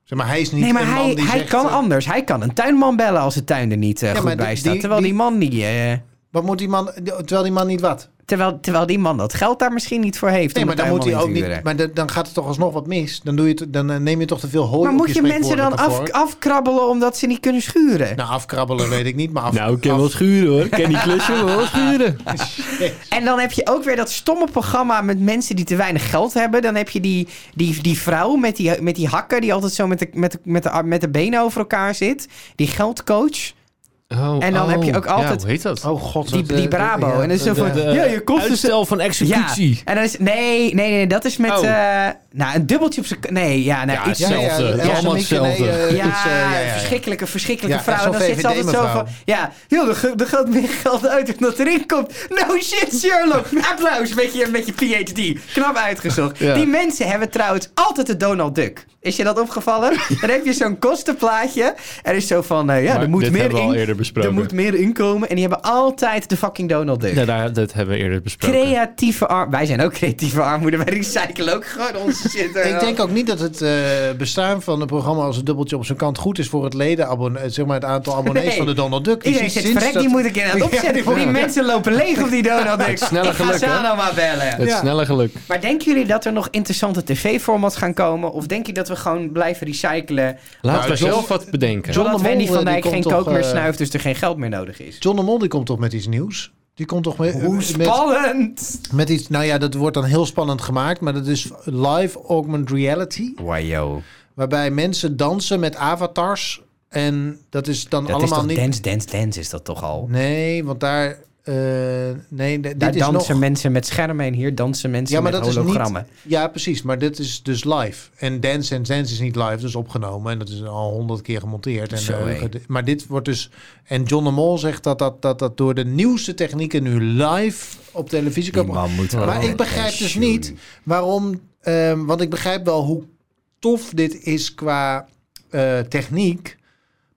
Speaker 3: Zeg maar, hij is niet
Speaker 2: Nee, maar
Speaker 3: een man
Speaker 2: hij,
Speaker 3: die
Speaker 2: hij
Speaker 3: zegt,
Speaker 2: kan
Speaker 3: eh,
Speaker 2: anders. Hij kan een tuinman bellen als de tuin er niet eh,
Speaker 3: Ja,
Speaker 2: goed
Speaker 3: maar
Speaker 2: bij
Speaker 3: die-
Speaker 2: staat.
Speaker 3: die-
Speaker 2: Terwijl die,
Speaker 3: die-
Speaker 2: man die... eh,
Speaker 3: Wat moet die man, terwijl die man niet wat?
Speaker 2: Terwijl, terwijl die man dat geld daar misschien niet voor heeft.
Speaker 3: Nee,
Speaker 2: om
Speaker 3: maar
Speaker 2: de
Speaker 3: dan moet hij
Speaker 2: tuinman
Speaker 3: ook
Speaker 2: in te huren.
Speaker 3: niet. Maar dan- dan gaat er toch alsnog wat mis. Dan, doe je het- dan eh, neem je toch te veel hooi.
Speaker 2: Maar
Speaker 3: op
Speaker 2: moet je mensen dan
Speaker 3: spreekwoordelijke
Speaker 2: af,
Speaker 3: vork.
Speaker 2: afkrabbelen omdat ze niet kunnen schuren?
Speaker 3: Nou, afkrabbelen weet ik niet, maar af.
Speaker 1: Nou, ik ken
Speaker 3: af-
Speaker 1: wel schuren hoor. Ik ken die klusje maar wel schuren.
Speaker 2: En dan heb je ook weer dat stomme programma met mensen die te weinig geld hebben. Dan heb je die, die, die vrouw met die, met die hakken die altijd zo met de, met, de, met, de, ar- met de benen over elkaar zit. Die geldcoach.
Speaker 1: Oh,
Speaker 2: En dan heb je ook
Speaker 1: ja,
Speaker 2: altijd-
Speaker 1: hoe heet dat? eh,
Speaker 3: Oh god.
Speaker 2: Die, die Brabo. en dan is het zo van, eh, ja, je kost dus...
Speaker 1: uitstel van
Speaker 2: Ja,
Speaker 1: executie.
Speaker 2: en dan is, nee, nee, nee, nee, dat is met,
Speaker 1: Oh.
Speaker 2: eh, nou, een dubbeltje op zijn, nee, ja, nou,
Speaker 1: Ja,
Speaker 2: iets,
Speaker 1: ja,
Speaker 2: ja, eh,
Speaker 1: hetzelfde. Allemaal hetzelfde.
Speaker 3: eh,
Speaker 2: ja, verschrikkelijke, verschrikkelijke
Speaker 3: Ja,
Speaker 2: vrouw. En
Speaker 3: zo'n
Speaker 2: dan zit ze altijd zo
Speaker 3: VVD-mevrouw.
Speaker 2: van, ja, joh, er, ge- er gaat meer geld uit dan dat erin komt. No shit, Sherlock. Applaus met je, met je PhD. Knap uitgezocht.
Speaker 1: Ja.
Speaker 2: Die mensen hebben trouwens altijd de Donald Duck. Is je dat opgevallen? Dan heb je zo'n kostenplaatje. Er is zo van, eh, ja,
Speaker 1: Maar
Speaker 2: er moet
Speaker 1: dit
Speaker 2: meer
Speaker 1: hebben we al
Speaker 2: in-
Speaker 1: eerder
Speaker 2: Er
Speaker 1: besproken.
Speaker 2: moet meer inkomen. En die hebben altijd de fucking Donald Duck.
Speaker 1: Ja, daar, dat hebben we eerder besproken.
Speaker 2: Creatieve armoede. Wij zijn ook creatieve armoede. Wij recyclen ook gewoon onze shit.
Speaker 3: Ik denk ook niet dat het eh, bestaan van een programma als een dubbeltje op zijn kant goed is voor het ledenabonnee, zeg maar het aantal abonnees
Speaker 2: Nee.
Speaker 3: van de Donald Duck. Die
Speaker 2: Iedereen
Speaker 3: zien
Speaker 2: zit
Speaker 3: sinds
Speaker 2: vrek,
Speaker 3: dat-
Speaker 2: die moet ik in aan het
Speaker 3: Ja,
Speaker 2: opzetten.
Speaker 3: die
Speaker 2: die
Speaker 3: moet-
Speaker 2: mensen lopen leeg op die Donald Duck.
Speaker 1: sneller
Speaker 2: ik ga
Speaker 1: geluk,
Speaker 2: ze
Speaker 1: hè?
Speaker 2: nou maar bellen.
Speaker 1: Het
Speaker 3: Ja.
Speaker 1: snelle geluk.
Speaker 2: Maar denken jullie dat er nog interessante tv-formats gaan komen? Of denk je dat we gewoon blijven recyclen?
Speaker 1: Laten we
Speaker 3: John-
Speaker 1: zelf wat bedenken.
Speaker 3: John-
Speaker 2: Zodat
Speaker 3: de Mol,
Speaker 2: Wendy
Speaker 3: eh,
Speaker 2: van
Speaker 3: die
Speaker 2: Dijk
Speaker 3: komt
Speaker 2: geen
Speaker 3: toch,
Speaker 2: kook meer
Speaker 3: eh,
Speaker 2: snuift, dus er geen geld meer nodig is.
Speaker 3: John de Mol die komt toch met iets nieuws? Die komt toch eh, met,
Speaker 2: Hoe
Speaker 3: met,
Speaker 2: spannend!
Speaker 3: met iets. Nou ja, dat wordt dan heel spannend gemaakt, maar dat is live augmented reality,
Speaker 2: Wajo.
Speaker 3: waarbij mensen dansen met avatars en dat is dan
Speaker 2: Dat is
Speaker 3: allemaal
Speaker 2: toch
Speaker 3: niet.
Speaker 2: dance, dance, dance is dat toch al?
Speaker 3: Nee, want daar. eh, nee, d-
Speaker 2: Daar
Speaker 3: dit is nog.
Speaker 2: dansen mensen met schermen en hier dansen mensen
Speaker 3: Ja, maar
Speaker 2: met
Speaker 3: dat is
Speaker 2: hologrammen.
Speaker 3: niet. Ja, precies. Maar dit is dus live. En Dance and Dance is niet live, dus opgenomen. En dat is al honderd keer gemonteerd. En,
Speaker 2: Zo,
Speaker 3: eh,
Speaker 2: hé.
Speaker 3: ge- maar dit wordt dus. En John de Mol zegt dat dat, dat, dat door de nieuwste technieken nu live op televisie kan.
Speaker 2: man moet
Speaker 3: Maar
Speaker 2: wel
Speaker 3: ik begrijp dus
Speaker 2: pensioen.
Speaker 3: niet waarom. ehm, want ik begrijp wel hoe tof dit is qua eh, techniek.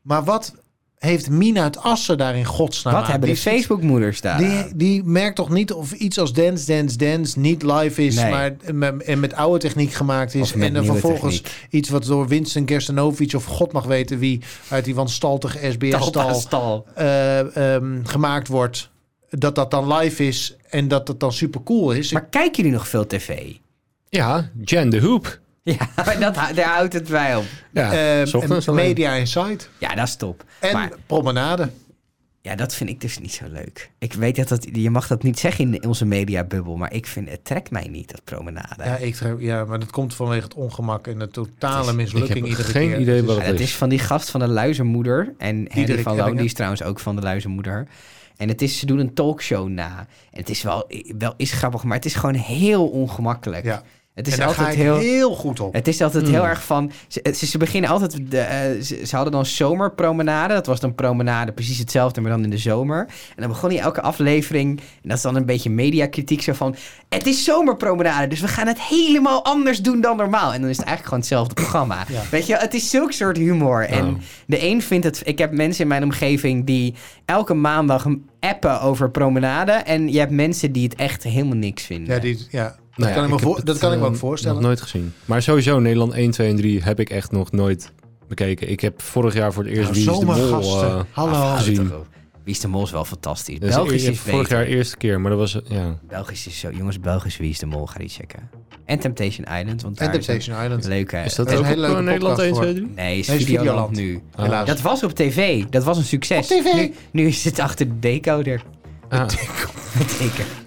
Speaker 3: Maar wat heeft Mina uit Assen daar in godsnaam
Speaker 2: Wat
Speaker 3: aan?
Speaker 2: hebben de
Speaker 3: Die zit-
Speaker 2: Facebook-moeders daar?
Speaker 3: die, die merkt toch niet of iets als Dance, Dance, Dance niet live is,
Speaker 2: Nee.
Speaker 3: maar met, en met oude techniek gemaakt is.
Speaker 2: Of met
Speaker 3: En dan
Speaker 2: nieuwe
Speaker 3: vervolgens
Speaker 2: techniek.
Speaker 3: iets wat door Winston Gerstanovic of god mag weten wie uit die wanstaltige SBS-stal
Speaker 2: stal.
Speaker 3: eh, ehm, gemaakt wordt. Dat dat dan live is en dat dat dan super cool is.
Speaker 2: Maar kijken jullie nog veel tv?
Speaker 1: Ja, Jan de Hoep.
Speaker 2: Ja, maar dat, hou- daar houdt het bij op.
Speaker 1: Ja,
Speaker 3: Eh,
Speaker 1: s ochtends
Speaker 3: en
Speaker 1: alleen.
Speaker 3: Media Insight
Speaker 2: Ja, dat is top.
Speaker 3: en
Speaker 2: Maar
Speaker 3: Promenade.
Speaker 2: ja, dat vind ik dus niet zo leuk. Ik weet dat, dat je mag dat niet zeggen in onze mediabubbel, maar ik vind het trekt mij niet, dat promenade.
Speaker 3: Ja,
Speaker 2: Ja,
Speaker 3: ik, trouw- ja, maar dat komt vanwege het ongemak en de totale
Speaker 1: ik
Speaker 3: mislukking
Speaker 1: heb
Speaker 3: iedere
Speaker 1: geen
Speaker 3: keer.
Speaker 1: idee
Speaker 3: Het is-
Speaker 1: wat het
Speaker 2: het is van die gast van de Luizenmoeder. En Henry
Speaker 3: Diederik
Speaker 2: van Loon, die
Speaker 3: Ebbingen.
Speaker 2: is trouwens ook van de Luizenmoeder. En het is, ze doen een talkshow na. En het is wel, wel is grappig, maar het is gewoon heel ongemakkelijk.
Speaker 3: Ja.
Speaker 2: Het is
Speaker 3: en daar ga
Speaker 2: altijd
Speaker 3: ik
Speaker 2: heel...
Speaker 3: heel... goed op. Mm.
Speaker 2: Het is altijd heel erg van. Ze, eh, ze, ze beginnen altijd. De, eh, ze, ze hadden dan zomerpromenade. Dat was dan promenade, precies hetzelfde, maar dan in de zomer. En dan begon hij elke aflevering. En dat is dan een beetje mediakritiek. Zo van. Het is zomerpromenade, dus we gaan het helemaal anders doen dan normaal. En dan is het eigenlijk gewoon hetzelfde programma. Weet je, wel, het is zulk soort humor.
Speaker 3: Oh.
Speaker 2: En de een vindt het. Ik heb mensen in mijn omgeving die elke maandag appen over promenade. En je hebt mensen die het echt helemaal niks vinden.
Speaker 3: Ja, die, ja.
Speaker 1: Nou ja,
Speaker 3: dat kan, ik, me
Speaker 1: heb
Speaker 3: voor-
Speaker 1: het,
Speaker 3: dat kan ik me
Speaker 1: eh,
Speaker 3: ook voorstellen.
Speaker 1: Nog nooit gezien. Maar sowieso, Nederland 1, 2 en 3 heb ik echt nog nooit bekeken. Ik heb vorig jaar voor het eerst
Speaker 3: Nou,
Speaker 1: Wie is de Mol
Speaker 3: zomergasten.
Speaker 1: eh,
Speaker 3: Hallo.
Speaker 1: gezien.
Speaker 2: Wie is de Mol is wel fantastisch.
Speaker 1: Dus
Speaker 2: Belgisch
Speaker 1: ik- ik-
Speaker 2: is
Speaker 1: vorig
Speaker 2: beter.
Speaker 1: jaar eerste keer, maar dat was... Ja.
Speaker 2: Belgisch is zo. Jongens, Belgisch Wie is de Mol? Ga die checken. En Temptation Island. Want
Speaker 3: En
Speaker 2: daar is
Speaker 3: Temptation
Speaker 2: een
Speaker 3: Island.
Speaker 2: leuke...
Speaker 1: Is dat
Speaker 3: dat is
Speaker 1: ook
Speaker 3: een hele
Speaker 1: op, eh,
Speaker 3: leuke
Speaker 1: Nederland
Speaker 3: podcast
Speaker 1: 1,
Speaker 3: voor.
Speaker 1: 2, 3?
Speaker 2: Nee, is
Speaker 3: Nee, is
Speaker 2: Videoland
Speaker 3: Videoland. Oh.
Speaker 2: nu.
Speaker 3: Helaas.
Speaker 2: Dat was op tv. Dat was een succes.
Speaker 3: Op tv.
Speaker 2: Nu, nu is het achter de decoder.
Speaker 1: Ah,
Speaker 2: Zeker.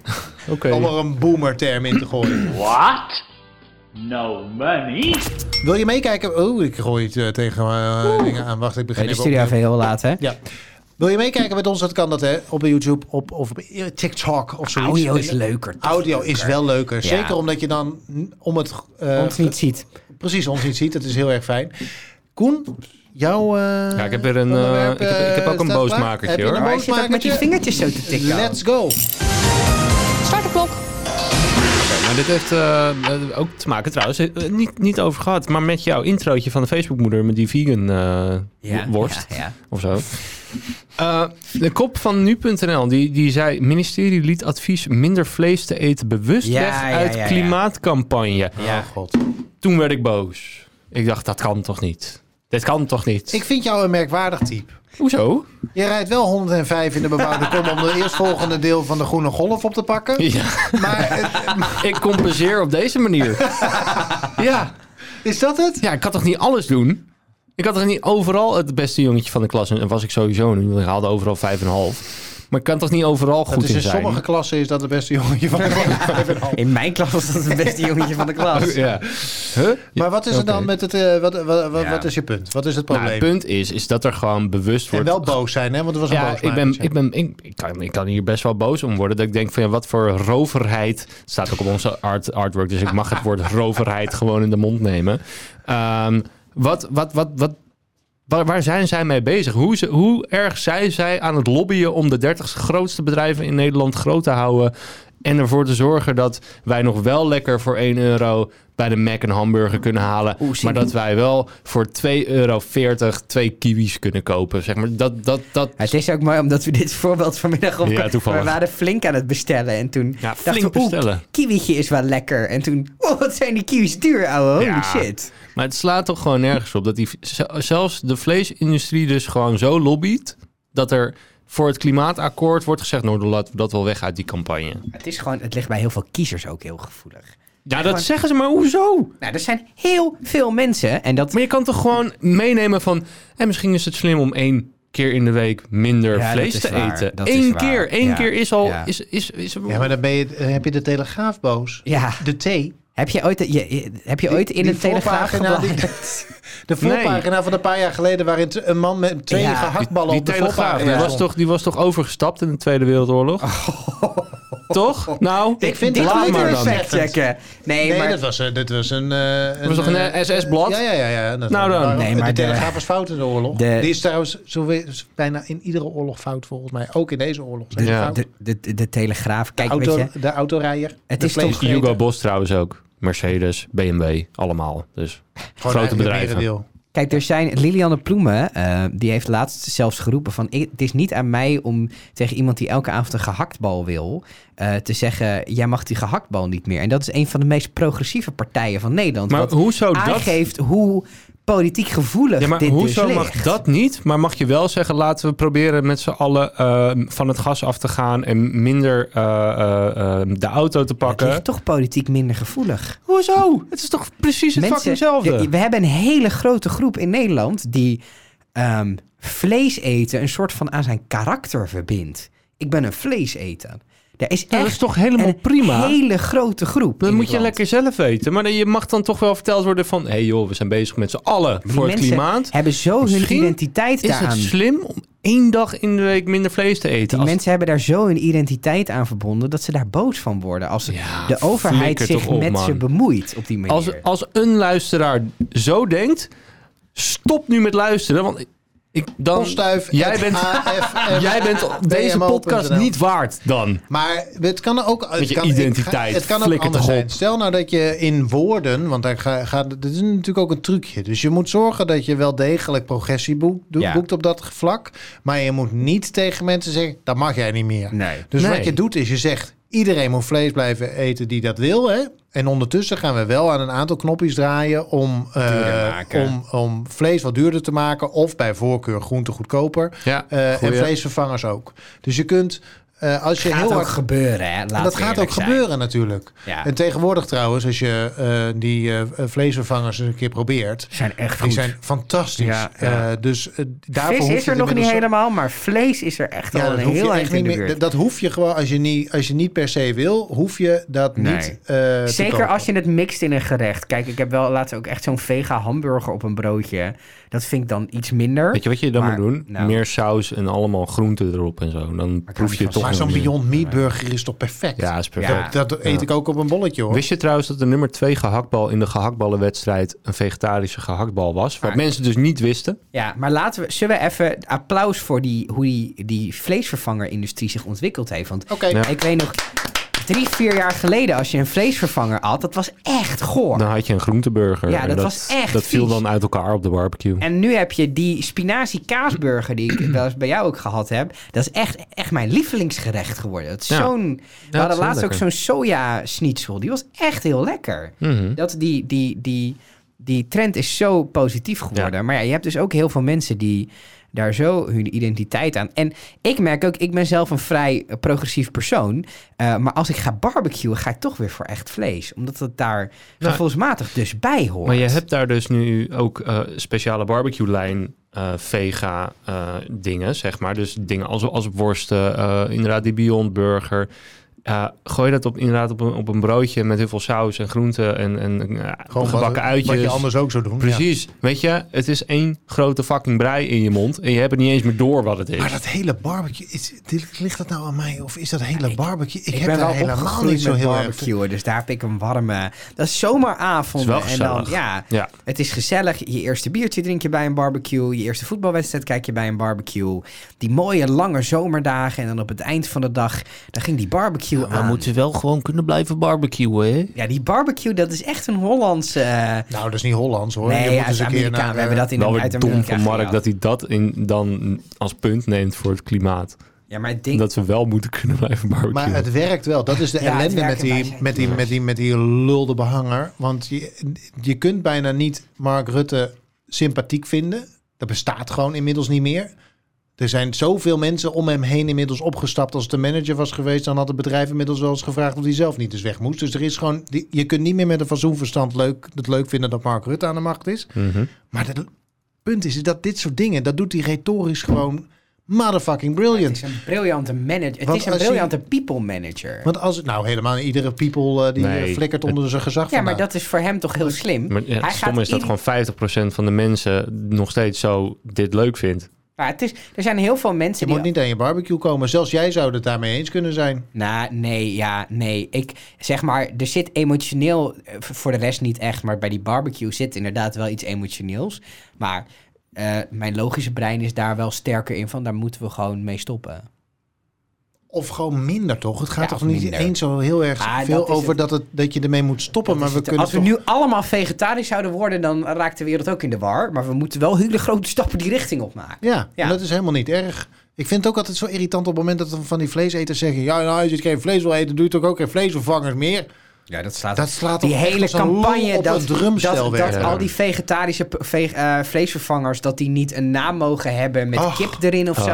Speaker 1: Oké.
Speaker 3: Om er een boomerterm in te gooien.
Speaker 4: What? No money?
Speaker 3: Wil je meekijken? Oh, ik gooi het eh, tegen eh, dingen aan. Wacht, ik begin
Speaker 2: De
Speaker 3: even
Speaker 2: studio
Speaker 3: opnieuw.
Speaker 2: even heel laat, hè?
Speaker 3: Ja. Wil je meekijken met ons? Dat kan dat hè. Op YouTube op, of op eh, TikTok of zoiets.
Speaker 2: Audio is leuker. toch?
Speaker 3: Audio is wel leuker.
Speaker 2: Ja.
Speaker 3: Zeker omdat je dan n- om het... eh,
Speaker 2: Ons niet ziet.
Speaker 3: Precies, ons niet ziet. Dat is heel erg fijn. Koen, jouw eh,
Speaker 1: Ja, ik heb weer een, eh,
Speaker 3: onderwerp,
Speaker 1: ik heb- ik heb ook een
Speaker 3: eh, staat klaar?
Speaker 1: boosmakertje,
Speaker 3: Heb je een
Speaker 1: hoor.
Speaker 2: Maar hij zit ook met die
Speaker 3: boosmakertje?
Speaker 2: vingertjes zo te tikken.
Speaker 3: Let's go.
Speaker 5: Start de klok.
Speaker 1: Maar dit heeft eh, eh, ook te maken trouwens, eh, niet, niet over gehad, maar met jouw introotje van de Facebookmoeder met die vegan eh,
Speaker 2: Ja,
Speaker 1: wo- worst
Speaker 2: Ja, ja.
Speaker 1: of zo. Eh, de kop van nu.nl die, die zei: Ministerie liet advies minder vlees te eten bewust
Speaker 2: Ja,
Speaker 1: weg
Speaker 2: ja,
Speaker 1: uit
Speaker 2: ja, ja.
Speaker 1: klimaatcampagne.
Speaker 2: Ja.
Speaker 3: Oh god.
Speaker 1: Toen werd ik boos. Ik dacht: dat kan toch niet? Dit kan toch niet?
Speaker 3: Ik vind jou een merkwaardig type.
Speaker 1: Hoezo?
Speaker 3: Je rijdt wel 105 in de bebouwde kom om de eerstvolgende deel van de groene golf op te pakken.
Speaker 1: Ja,
Speaker 3: Maar eh,
Speaker 1: ik compenseer op deze manier. ja.
Speaker 3: is dat het?
Speaker 1: ja, ik kan toch niet alles doen? Ik had toch niet overal het beste jongetje van de klas en was ik sowieso. Nu haalde overal 5,5. Maar kan toch niet overal goed
Speaker 3: Dat is
Speaker 1: in
Speaker 3: in
Speaker 1: zijn?
Speaker 3: sommige klassen is dat het beste jongetje van de klas.
Speaker 2: In mijn klas was dat het beste jongetje van de klas.
Speaker 1: Ja. Huh?
Speaker 3: Maar wat is er dan
Speaker 1: Oké.
Speaker 3: met het... eh, wat, wat, wat,
Speaker 2: Ja.
Speaker 3: wat is je punt? Wat is het
Speaker 1: Nou,
Speaker 3: probleem?
Speaker 1: het punt is, is dat er gewoon bewust
Speaker 3: en
Speaker 1: wordt...
Speaker 3: wel boos zijn, hè? Want er was een
Speaker 1: ja,
Speaker 3: boos
Speaker 1: ik ben, ik, ben, ik, ik kan, ik kan hier best wel boos om worden. Dat ik denk van ja, wat voor roverheid. Het staat ook op onze art, artwork, dus ik mag het woord roverheid gewoon in de mond nemen. Ehm, wat, wat, wat, wat, waar, waar zijn zij mee bezig? Hoe, ze, hoe erg zijn zij aan het lobbyen om de 30 grootste bedrijven in Nederland groot te houden? En ervoor te zorgen dat wij nog wel lekker voor 1 euro bij de Mac een hamburger kunnen halen.
Speaker 2: Oeh, zie.
Speaker 1: maar dat wij wel voor 2,40 euro twee kiwis kunnen kopen. Zeg maar. dat, dat, dat,
Speaker 2: Het is ook mooi omdat we dit voorbeeld vanmiddag op.
Speaker 1: Ja, toevallig.
Speaker 2: We waren flink aan het bestellen en toen
Speaker 1: Ja,
Speaker 2: dachten
Speaker 1: flink
Speaker 2: we, oeh,
Speaker 1: bestellen.
Speaker 2: kiwietje is wel lekker. En toen, wow, wat zijn die kiwis duur, ouwe. Holy
Speaker 1: Ja.
Speaker 2: shit.
Speaker 1: Maar het slaat toch gewoon nergens op. Dat die, z- zelfs de vleesindustrie dus gewoon zo lobbyt... dat er voor het klimaatakkoord wordt gezegd... nou, dan laten we dat wel weg uit die campagne.
Speaker 2: Het is gewoon, het ligt bij heel veel kiezers ook heel gevoelig.
Speaker 1: Ja,
Speaker 2: gewoon-
Speaker 1: dat zeggen ze, maar hoezo?
Speaker 2: Nou, er zijn heel veel mensen en dat...
Speaker 1: Maar je kan toch gewoon meenemen van... en misschien is het slim om één keer in de week minder
Speaker 2: Ja, dat
Speaker 1: vlees
Speaker 2: is
Speaker 1: te
Speaker 2: waar.
Speaker 1: eten.
Speaker 2: Dat is
Speaker 1: Eén
Speaker 2: waar.
Speaker 1: keer. Eén
Speaker 2: Ja.
Speaker 1: keer is al...
Speaker 2: Ja.
Speaker 1: Is, is, is,
Speaker 3: Ja, maar dan ben je, eh, heb je de Telegraaf boos.
Speaker 2: Ja.
Speaker 3: De thee.
Speaker 2: Heb je ooit, je- je, heb je ooit in
Speaker 3: die
Speaker 2: een telegraaf
Speaker 3: voorpagina, die-
Speaker 2: geblazen?
Speaker 3: De voorpagina van een paar jaar geleden... waarin t- een man met twee
Speaker 2: Ja,
Speaker 3: gehaktballen
Speaker 1: die
Speaker 3: op de
Speaker 1: telegraaf, die,
Speaker 3: voorpagina
Speaker 1: was
Speaker 3: stond.
Speaker 1: toch, die was toch overgestapt in de Tweede Wereldoorlog? Toch? Nou,
Speaker 3: Ik vind
Speaker 2: Dit moeten
Speaker 3: het laat
Speaker 2: we
Speaker 3: maar
Speaker 2: eens
Speaker 3: dan.
Speaker 2: factchecken. Nee,
Speaker 3: Nee,
Speaker 2: maar...
Speaker 3: dat was, eh, dit was een... eh,
Speaker 1: was toch een, eh, SS-blad?
Speaker 3: Ja, ja, ja. ja dat-
Speaker 1: Nou dan.
Speaker 3: waarom-
Speaker 2: Nee, maar
Speaker 3: de
Speaker 2: de-
Speaker 3: Telegraaf was fout in de oorlog.
Speaker 2: de-
Speaker 3: Die is trouwens zo we- is bijna in iedere oorlog fout, volgens mij. Ook in deze oorlog. zijn ze
Speaker 1: Ja.
Speaker 3: fout.
Speaker 2: De, de, de, de Telegraaf, kijk,
Speaker 3: Auto,
Speaker 2: weet je...
Speaker 3: de autorijder.
Speaker 2: Het
Speaker 3: de
Speaker 2: is toch-
Speaker 3: vleesvreter.
Speaker 1: Hugo Boss trouwens ook. Mercedes, BMW, allemaal. Dus
Speaker 3: Gewoon
Speaker 1: grote
Speaker 3: eigenlijk
Speaker 1: bedrijven.
Speaker 3: een merendeel.
Speaker 2: Kijk, er zijn Lilianne Ploemen, eh, die heeft laatst zelfs geroepen van... "Ik- het is niet aan mij om tegen iemand die elke avond een gehaktbal wil... eh, te zeggen, jij mag die gehaktbal niet meer. En dat is een van de meest progressieve partijen van Nederland.
Speaker 1: Maar
Speaker 2: wat
Speaker 1: hoezo dat-
Speaker 2: aangeeft hoe politiek gevoelig
Speaker 1: Ja, maar
Speaker 2: dit
Speaker 1: hoezo
Speaker 2: dus
Speaker 1: mag
Speaker 2: ligt.
Speaker 1: dat niet? Maar mag je wel zeggen, laten we proberen met z'n allen eh, van het gas af te gaan en minder eh, eh, eh, de auto te
Speaker 2: Het
Speaker 1: pakken?
Speaker 2: ligt toch politiek minder gevoelig.
Speaker 1: Hoezo? Het is toch precies het
Speaker 2: Mensen-
Speaker 1: fucking hetzelfde?
Speaker 2: de- we hebben een hele grote groep in Nederland die ehm, vlees eten een soort van aan zijn karakter verbindt. Ik ben een vleeseter. Er is
Speaker 1: Ja,
Speaker 2: echt
Speaker 1: Nou, dat is toch helemaal
Speaker 2: een
Speaker 1: prima?
Speaker 2: hele grote groep.
Speaker 1: dat
Speaker 2: in
Speaker 1: moet
Speaker 2: het
Speaker 1: je
Speaker 2: land.
Speaker 1: lekker zelf weten. Maar je mag dan toch wel verteld worden van... hé hey joh, we zijn bezig met z'n allen
Speaker 2: Die
Speaker 1: voor het
Speaker 2: mensen
Speaker 1: klimaat.
Speaker 2: hebben zo hun
Speaker 1: Misschien
Speaker 2: identiteit
Speaker 1: Is het
Speaker 2: daaraan.
Speaker 1: slim om één dag in de week minder vlees te eten?
Speaker 2: Die
Speaker 1: Als-
Speaker 2: mensen hebben daar zo hun identiteit aan verbonden dat ze daar boos van worden als
Speaker 1: Ja,
Speaker 2: de overheid
Speaker 1: flikker
Speaker 2: zich
Speaker 1: toch op,
Speaker 2: met
Speaker 1: man.
Speaker 2: ze bemoeit op die manier.
Speaker 1: Als, als een luisteraar zo denkt, stop nu met luisteren. Want ik, dan,
Speaker 3: Postduif.
Speaker 1: jij, bent,
Speaker 3: AFM.
Speaker 1: jij bent deze podcast niet waard dan.
Speaker 3: Maar het kan ook... Het
Speaker 1: je
Speaker 3: kan, ik ga-
Speaker 1: identiteit,
Speaker 3: het kan ook
Speaker 1: flikker
Speaker 3: anders
Speaker 1: toch op.
Speaker 3: zijn. Stel nou dat je in woorden... Want daar ga- gaat... Dit is natuurlijk ook een trucje. Dus je moet zorgen dat je wel degelijk progressie boekt, doet-
Speaker 2: Ja.
Speaker 3: boekt op dat vlak. Maar je moet niet tegen mensen zeggen... Dat mag jij niet meer.
Speaker 2: Nee.
Speaker 3: Dus
Speaker 1: Nee.
Speaker 3: wat je doet is je zegt... Iedereen moet vlees blijven eten die dat wil. Hè? En ondertussen gaan we wel aan een aantal knopjes draaien om, eh,
Speaker 2: Duurder maken.
Speaker 3: om, om vlees wat duurder te maken. Of bij voorkeur groente goedkoper.
Speaker 1: Ja,
Speaker 3: Eh, en
Speaker 1: goeie.
Speaker 3: vleesvervangers ook. Dus je kunt, eh, als je
Speaker 2: gaat
Speaker 3: heel
Speaker 2: ook
Speaker 3: hard...
Speaker 2: gebeuren, hè? Laten
Speaker 3: dat
Speaker 2: we
Speaker 3: gaat ook
Speaker 2: eerlijk zijn.
Speaker 3: gebeuren natuurlijk.
Speaker 2: Ja.
Speaker 3: En tegenwoordig trouwens, als je eh, die eh, vleesvervangers een keer probeert...
Speaker 2: Zijn echt
Speaker 3: Die
Speaker 2: goed.
Speaker 3: zijn fantastisch.
Speaker 2: Ja, ja.
Speaker 3: Eh, dus eh, daarvoor
Speaker 2: Vis
Speaker 3: hoef
Speaker 2: is
Speaker 3: je
Speaker 2: er nog niet
Speaker 3: inmiddels-
Speaker 2: helemaal, maar vlees is er echt al
Speaker 3: dat
Speaker 2: een
Speaker 3: hoef je
Speaker 2: heel eind
Speaker 3: echt niet
Speaker 2: in de
Speaker 3: meer-
Speaker 2: buurt.
Speaker 3: dat- Dat hoef je gewoon, als je niet, als je niet per se wil, hoef je dat
Speaker 2: Nee.
Speaker 3: niet eh, te
Speaker 2: Zeker
Speaker 3: kopen.
Speaker 2: als je het mixt in een gerecht. Kijk, ik heb wel laatst ook echt zo'n vega hamburger op een broodje. Dat vind ik dan iets minder.
Speaker 1: Weet je wat je dan
Speaker 2: Maar,
Speaker 1: moet doen?
Speaker 2: nou.
Speaker 1: Meer saus en allemaal groenten erop en zo. Dan proef
Speaker 2: niet
Speaker 1: je
Speaker 2: van
Speaker 1: toch
Speaker 3: Maar
Speaker 1: nog
Speaker 3: zo'n
Speaker 1: meer.
Speaker 3: Beyond Meat burger is toch perfect?
Speaker 1: Ja, is perfect.
Speaker 2: Ja.
Speaker 3: Dat eet ik ook op een bolletje hoor.
Speaker 1: Wist je trouwens dat de nummer 2 gehaktbal in de gehaktballenwedstrijd een vegetarische gehaktbal was? Wat
Speaker 2: Maar-
Speaker 1: mensen dus niet wisten.
Speaker 2: Ja, maar laten we, zullen we even applaus voor die, hoe die, die vleesvervangerindustrie zich ontwikkeld heeft. Want
Speaker 3: Oké.
Speaker 1: Ja.
Speaker 2: ik weet nog, drie, vier jaar geleden als je een vleesvervanger at, dat was echt goor.
Speaker 1: Dan had je een groenteburger.
Speaker 2: Ja,
Speaker 1: En
Speaker 2: dat was echt
Speaker 1: Dat viel
Speaker 2: vies.
Speaker 1: dan uit elkaar op de barbecue.
Speaker 2: En nu heb je die spinazie kaasburger die ik wel eens bij jou ook gehad heb. Dat is echt, echt mijn lievelingsgerecht geworden. Dat is
Speaker 1: Ja.
Speaker 2: zo'n, we
Speaker 1: dat is
Speaker 2: hadden
Speaker 1: heel
Speaker 2: laatst ook
Speaker 1: lekker.
Speaker 2: zo'n soja schnitzel. Die was echt heel lekker.
Speaker 1: Mhm.
Speaker 2: Dat die, die, die die trend is zo positief geworden. Maar ja, je hebt dus ook heel veel mensen die daar zo hun identiteit aan. En ik merk ook, ik ben zelf een vrij eh, progressief persoon. eh, maar als ik ga barbecuen, ga ik toch weer voor echt vlees. Omdat het daar gevoelsmatig dus bij hoort.
Speaker 1: Nou, Maar je hebt daar dus nu ook eh, speciale barbecue-lijn eh, vega eh, dingen, zeg maar. Dus dingen als, als worsten, eh, inderdaad die Beyond Burger. Eh, gooi dat op, inderdaad op een, op een broodje met heel veel saus en groenten en, en eh, gebakken
Speaker 3: wat, wat
Speaker 1: uitjes.
Speaker 3: je anders ook zou doen. ja.
Speaker 1: Precies. Weet je, het is één grote fucking brei in je mond. En je hebt het niet eens meer door wat het is.
Speaker 3: Maar dat hele barbecue, is, ligt dat nou aan mij of is dat hele barbecue? Ik,
Speaker 2: Ik
Speaker 3: heb
Speaker 2: ben
Speaker 3: daar
Speaker 2: wel
Speaker 3: helemaal niet
Speaker 2: opgegroeid
Speaker 3: zo
Speaker 2: met
Speaker 3: heel erg.
Speaker 2: barbecuen, dus daar heb ik een warme... Dat is zomeravond.
Speaker 1: Het is wel
Speaker 2: en dan,
Speaker 1: gezellig.
Speaker 2: ja,
Speaker 1: Ja.
Speaker 2: Het is gezellig. Je eerste biertje drink je bij een barbecue. Je eerste voetbalwedstrijd kijk je bij een barbecue. Die mooie lange zomerdagen. En dan op het eind van de dag, dan ging die barbecue aan.
Speaker 3: Ah.
Speaker 1: wel gewoon kunnen blijven barbecuen, hè?
Speaker 2: Ja, die barbecue, dat is echt een Hollandse...
Speaker 1: Oh,
Speaker 2: eh,
Speaker 3: Nou, dat is niet Hollands hoor.
Speaker 2: nee,
Speaker 3: je moet
Speaker 2: ja,
Speaker 3: eens
Speaker 2: uit
Speaker 3: een keer
Speaker 2: Amerika.
Speaker 3: naar, eh,
Speaker 2: We hebben dat in
Speaker 1: eh, Wel
Speaker 2: uit
Speaker 1: weer dom
Speaker 2: Amerika
Speaker 1: van Mark
Speaker 2: gehaald.
Speaker 1: dat hij dat in, dan als punt neemt voor het klimaat.
Speaker 2: Ja, maar het ding...
Speaker 1: Dat we wel moeten kunnen blijven barbecuen.
Speaker 3: Maar het werkt wel. Dat is de
Speaker 2: Ja, het
Speaker 3: ellende
Speaker 2: werken
Speaker 3: met die,
Speaker 2: wij
Speaker 3: met, die, met, die, met die lulde behanger. Want je, je kunt bijna niet Mark Rutte sympathiek vinden. Dat bestaat gewoon inmiddels niet meer. Er zijn zoveel mensen om hem heen inmiddels opgestapt. Als het de manager was geweest, dan had het bedrijf inmiddels wel eens gevraagd of hij zelf niet eens weg moest. Dus er is gewoon, die- je kunt niet meer met een fatsoenverstand leuk, het leuk vinden dat Mark Rutte aan de macht is.
Speaker 1: Mhm.
Speaker 3: Maar het punt is dat dit soort dingen, dat doet hij retorisch gewoon motherfucking
Speaker 2: Het
Speaker 3: brilliant.
Speaker 2: is een briljante manager. Het
Speaker 3: Want
Speaker 2: is een
Speaker 3: als je-
Speaker 2: briljante people manager.
Speaker 3: Want als het nou helemaal iedere people eh, die
Speaker 1: Nee.
Speaker 3: eh, flikkert onder zijn
Speaker 2: Ja,
Speaker 3: gezag
Speaker 2: maar
Speaker 3: vandaan.
Speaker 2: dat is voor hem toch heel slim.
Speaker 1: Maar ja,
Speaker 2: Hij
Speaker 1: stom
Speaker 2: gaat
Speaker 1: is dat
Speaker 2: ieder-
Speaker 1: gewoon 50% van de mensen nog steeds zo dit leuk vindt.
Speaker 2: Maar het is, er zijn heel veel
Speaker 3: Je
Speaker 2: mensen die...
Speaker 3: moet niet aan je barbecue komen. Zelfs jij zou het daarmee eens kunnen zijn.
Speaker 2: Nou, nee, ja, nee. Ik zeg maar, er zit emotioneel, eh, v- voor de rest niet echt, maar bij die barbecue zit inderdaad wel iets emotioneels. Maar eh, mijn logische brein is daar wel sterker in van, daar moeten we gewoon mee stoppen.
Speaker 3: Of gewoon minder toch? Het gaat
Speaker 2: Ja,
Speaker 3: toch
Speaker 2: of
Speaker 3: niet
Speaker 2: minder.
Speaker 3: eens zo heel erg
Speaker 2: Ah,
Speaker 3: veel
Speaker 2: dat is
Speaker 3: over
Speaker 2: het.
Speaker 3: dat, het, dat je ermee moet stoppen. Maar we kunnen
Speaker 2: Als we
Speaker 3: toch-
Speaker 2: nu allemaal vegetarisch zouden worden, dan raakt de wereld ook in de war. Maar we moeten wel hele grote stappen die richting op maken.
Speaker 3: Ja,
Speaker 2: Ja.
Speaker 3: en dat is helemaal niet erg. Ik vind het ook altijd zo irritant op het moment dat we van die vleeseters zeggen... Ja, nou, als je geen vlees wil eten, doe je toch ook geen vleesvervangers meer?
Speaker 2: Ja, dat slaat
Speaker 3: Dat slaat
Speaker 2: die
Speaker 3: toch echt
Speaker 2: hele
Speaker 3: als een lul
Speaker 2: campagne
Speaker 3: op een
Speaker 2: dat,
Speaker 3: drumstel
Speaker 2: dat, dat
Speaker 3: werken.
Speaker 2: al die vegetarische p- ve- eh, vleesvervangers dat die niet een naam mogen hebben met
Speaker 3: Ach,
Speaker 2: kip erin of zo.
Speaker 1: Maar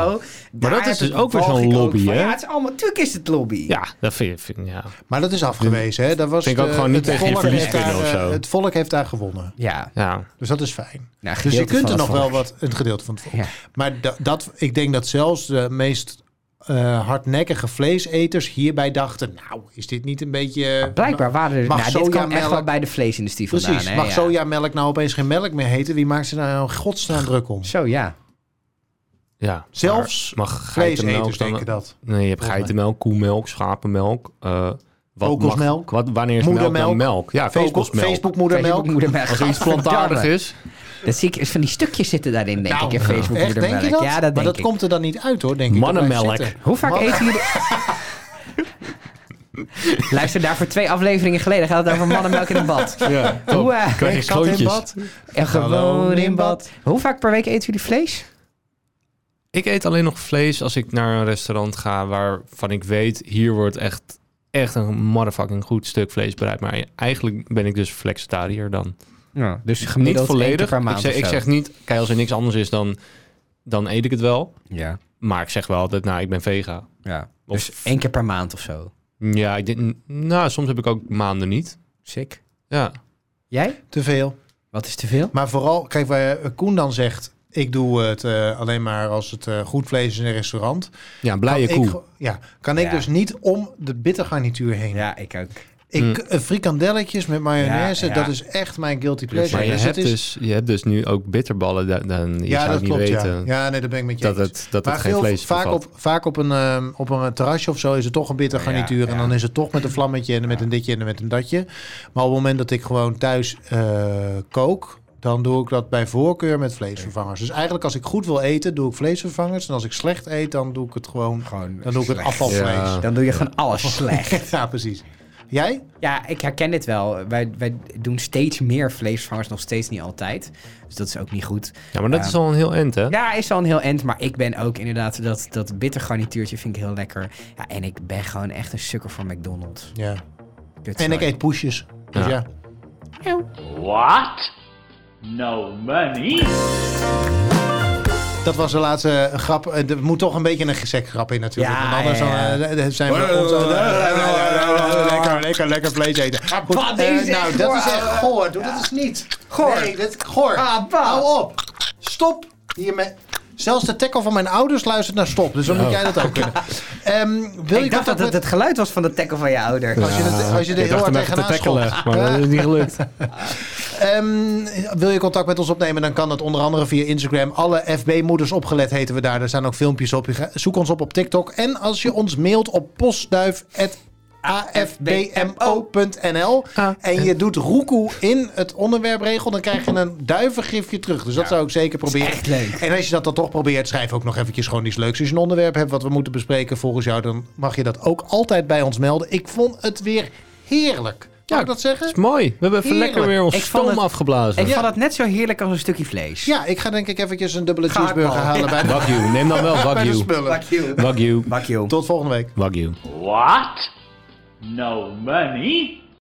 Speaker 2: Daar
Speaker 1: dat is
Speaker 2: heb
Speaker 1: dus
Speaker 2: ik
Speaker 1: ook weer
Speaker 2: walging
Speaker 1: zo'n lobby,
Speaker 2: van.
Speaker 1: hè?
Speaker 2: Ja, het is allemaal, natuurlijk is het lobby.
Speaker 1: Ja, dat vind ik. Vind, ja.
Speaker 3: Maar dat is afgewezen, hè? Dat was
Speaker 1: Vind ik ook
Speaker 3: de-
Speaker 1: gewoon niet
Speaker 3: het
Speaker 1: tegen je
Speaker 3: volk
Speaker 1: verlies
Speaker 3: heeft daar,
Speaker 1: kunnen of
Speaker 3: eh,
Speaker 1: zo.
Speaker 3: Het volk heeft daar gewonnen.
Speaker 2: Ja.
Speaker 1: Ja.
Speaker 3: Dus dat is fijn.
Speaker 2: Nou,
Speaker 3: Dus je
Speaker 2: gedeelte
Speaker 3: kunt
Speaker 2: van
Speaker 3: er nog
Speaker 2: het
Speaker 3: wel
Speaker 2: volk.
Speaker 3: wat, een gedeelte van het volk.
Speaker 2: Ja.
Speaker 3: Maar da- dat, ik denk dat zelfs de meest eh, hardnekkige vleeseters hierbij dachten... nou, is dit niet een beetje... eh,
Speaker 2: Blijkbaar waren er...
Speaker 3: Mag
Speaker 2: Nou, dit kwam echt
Speaker 3: sojamelk-
Speaker 2: wel bij de vleesindustrie vandaan.
Speaker 3: Precies,
Speaker 2: hè,
Speaker 3: mag
Speaker 2: ja.
Speaker 3: sojamelk nou opeens geen melk meer heten? Wie maakt ze daar nou in godsnaam druk om?
Speaker 2: Zo, ja.
Speaker 1: ja.
Speaker 3: Zelfs
Speaker 1: Maar mag
Speaker 3: vleeseters
Speaker 1: geitenmelk dan-
Speaker 3: denken dat.
Speaker 1: Nee, je hebt geitenmelk, koemelk, schapenmelk. eh wat
Speaker 3: Kokosmelk.
Speaker 1: Mag, wat, wanneer is melk
Speaker 3: Moedermelk.
Speaker 1: dan melk? Ja,
Speaker 3: Facebook,
Speaker 1: kokosmelk.
Speaker 3: Facebookmoedermelk.
Speaker 2: Facebookmoedermelk.
Speaker 1: Als er iets plantaardig is.
Speaker 2: Dat zie ik, van die stukjes zitten daarin, denk ik, in Facebook
Speaker 3: Nou, Echt, denk je
Speaker 2: moedermelk.
Speaker 3: dat?
Speaker 2: Ja, dat denk
Speaker 3: maar dat
Speaker 2: ik.
Speaker 3: komt er dan niet uit hoor, denk ik. Dat blijft
Speaker 1: Mannenmelk.
Speaker 3: zitten.
Speaker 2: Hoe vaak
Speaker 3: Man-
Speaker 2: eten jullie... Luister daarvoor twee afleveringen geleden. Gaat het over mannenmelk in een bad.
Speaker 1: Ja,
Speaker 2: Hoe, eh,
Speaker 1: krijg je
Speaker 3: Kat in
Speaker 1: schootjes.
Speaker 3: bad.
Speaker 2: En
Speaker 3: Hallo,
Speaker 2: gewoon in bad. Hoe vaak per week eten jullie vlees?
Speaker 1: Ik eet alleen nog vlees als ik naar een restaurant ga waarvan ik weet, hier wordt echt, echt een motherfucking goed stuk vlees bereid. Maar eigenlijk ben ik dus flexitariër dan.
Speaker 2: Ja, dus
Speaker 1: Niet
Speaker 2: gemiddeld één keer
Speaker 1: volledig.
Speaker 2: per
Speaker 1: Ik
Speaker 2: maand
Speaker 1: zeg,
Speaker 2: of
Speaker 1: ik
Speaker 2: zo.
Speaker 1: zeg niet, kijk, als er niks anders is, dan, dan eet ik het wel.
Speaker 2: Ja,
Speaker 1: Maar ik zeg wel altijd, nou, ik ben vega.
Speaker 2: ja.
Speaker 1: Of-
Speaker 2: Dus één keer per maand of zo.
Speaker 1: Ja, ik denk, nou, soms heb ik ook maanden niet.
Speaker 2: Sick.
Speaker 1: Ja,
Speaker 2: Jij?
Speaker 3: Te veel.
Speaker 2: Wat is te veel?
Speaker 3: Maar vooral, kijk, waar eh, Koen dan zegt... ik doe het eh, alleen maar als het eh, goed vlees is in een restaurant.
Speaker 1: ja een blije
Speaker 3: Kan
Speaker 1: koe.
Speaker 3: ik ge- ja, kan ik
Speaker 2: Ja.
Speaker 3: dus niet om de bittergarnituur heen.
Speaker 2: Ja, ik ook.
Speaker 3: Ik,
Speaker 1: Mm.
Speaker 3: eh, frikandelletjes met mayonaise,
Speaker 2: Ja, ja.
Speaker 3: dat is echt mijn guilty pleasure.
Speaker 1: maar je,
Speaker 3: Dus het
Speaker 1: hebt
Speaker 3: is-
Speaker 1: dus, je hebt dus nu ook bitterballen, da- dan, je
Speaker 3: ja,
Speaker 1: zou
Speaker 3: dat
Speaker 1: het niet
Speaker 3: klopt, ja.
Speaker 1: weten
Speaker 3: Ja, nee, dat ben ik met je
Speaker 1: dat
Speaker 3: eens.
Speaker 1: het, dat
Speaker 3: Maar
Speaker 1: het geen
Speaker 3: veel-
Speaker 1: vlees
Speaker 3: vaak,
Speaker 1: bevat.
Speaker 3: op, vaak op, een, ehm, op een terrasje of zo is het toch een bitter
Speaker 2: Ja,
Speaker 3: garnituur.
Speaker 2: ja.
Speaker 3: En dan is het toch met een vlammetje en met een ditje en met een datje. Maar op het moment dat ik gewoon thuis eh, kook, dan doe ik dat bij voorkeur met vleesvervangers. Dus eigenlijk als ik goed wil eten, doe ik vleesvervangers. En als ik slecht eet, dan doe ik het gewoon.
Speaker 2: Gewoon
Speaker 3: Dan doe ik het
Speaker 2: slecht.
Speaker 3: afvalvlees.
Speaker 1: Ja.
Speaker 2: Dan doe je gewoon alles slecht.
Speaker 3: ja precies. Jij?
Speaker 2: Ja, ik herken dit wel. Wij, wij doen steeds meer vleesvervangers, nog steeds niet altijd. Dus dat is ook niet goed.
Speaker 1: Ja, maar dat
Speaker 2: Ja.
Speaker 1: is al een heel end, hè?
Speaker 2: Ja, is al een heel end, maar ik ben ook inderdaad... dat, dat bitter garnituurtje vind ik heel lekker. Ja, en ik ben gewoon echt een sukker voor McDonald's.
Speaker 3: Ja.
Speaker 2: Kut,
Speaker 3: En ik
Speaker 2: sorry.
Speaker 3: eet poesjes. Dus ja.
Speaker 1: Ja.
Speaker 4: What? No money.
Speaker 3: Dat was de laatste grap. Eh, Er moet toch een beetje een gezeksgrap in natuurlijk.
Speaker 2: Ja,
Speaker 3: Want anders dan,
Speaker 2: ja, ja.
Speaker 3: eh, eh, zijn we... ons- eh, Lekker, lekker, lekker vlees eten. Goed,
Speaker 2: Ah, wat
Speaker 3: eh,
Speaker 2: is
Speaker 3: nou,
Speaker 2: echt
Speaker 3: dat
Speaker 2: goor.
Speaker 3: is echt goor. Doe dat eens niet.
Speaker 2: Goor.
Speaker 3: Nee, dat goor.
Speaker 2: Ah, wat?
Speaker 3: Hou op. Stop hiermee. Zelfs de tackle van mijn ouders luistert naar stop. Dus dan moet jij dat ook kunnen. Ehm, wil je
Speaker 2: Oh. Ik dacht dat het het geluid was van de tackle van je ouder.
Speaker 3: Als je, het, als je er
Speaker 1: Ik
Speaker 3: heel
Speaker 1: dacht
Speaker 3: hard
Speaker 1: hem echt te
Speaker 3: tegenaan schopt.
Speaker 1: tackelen, maar dat is niet gelukt.
Speaker 3: Ehm, wil je contact met ons opnemen, dan kan dat onder andere via Instagram. Alle FB-moeders opgelet heten we daar. Daar staan ook filmpjes op. Je ga- Zoek ons op op TikTok. En als je ons mailt op postduif.afbmo.nl en je doet roekoe in het onderwerpregel, dan krijg je een duivengifje terug. Dus dat zou ik zeker proberen.
Speaker 2: echt leuk.
Speaker 3: En als je dat dan toch probeert, schrijf ook nog eventjes gewoon iets leuks. Als je een onderwerp hebt wat we moeten bespreken volgens jou, dan mag je dat ook altijd bij ons melden. Ik vond het weer heerlijk. Mag ik dat zeggen?
Speaker 1: is mooi. We hebben even
Speaker 3: Heerlijk.
Speaker 1: lekker weer ons
Speaker 2: Ik vond
Speaker 1: stoom
Speaker 2: het-
Speaker 1: afgeblazen.
Speaker 2: Ik vond het net zo heerlijk als een stukje vlees.
Speaker 3: Ja, ik ga denk ik eventjes een dubbele
Speaker 2: Gaakbal.
Speaker 3: cheeseburger halen bij de,
Speaker 1: Wagyu, neem dan wel
Speaker 3: bij de
Speaker 1: Wagyu.
Speaker 3: spullen.
Speaker 2: you.
Speaker 1: Wagyu,
Speaker 2: Fuck you.
Speaker 3: Tot volgende week.
Speaker 1: Wagyu.
Speaker 4: What? No money?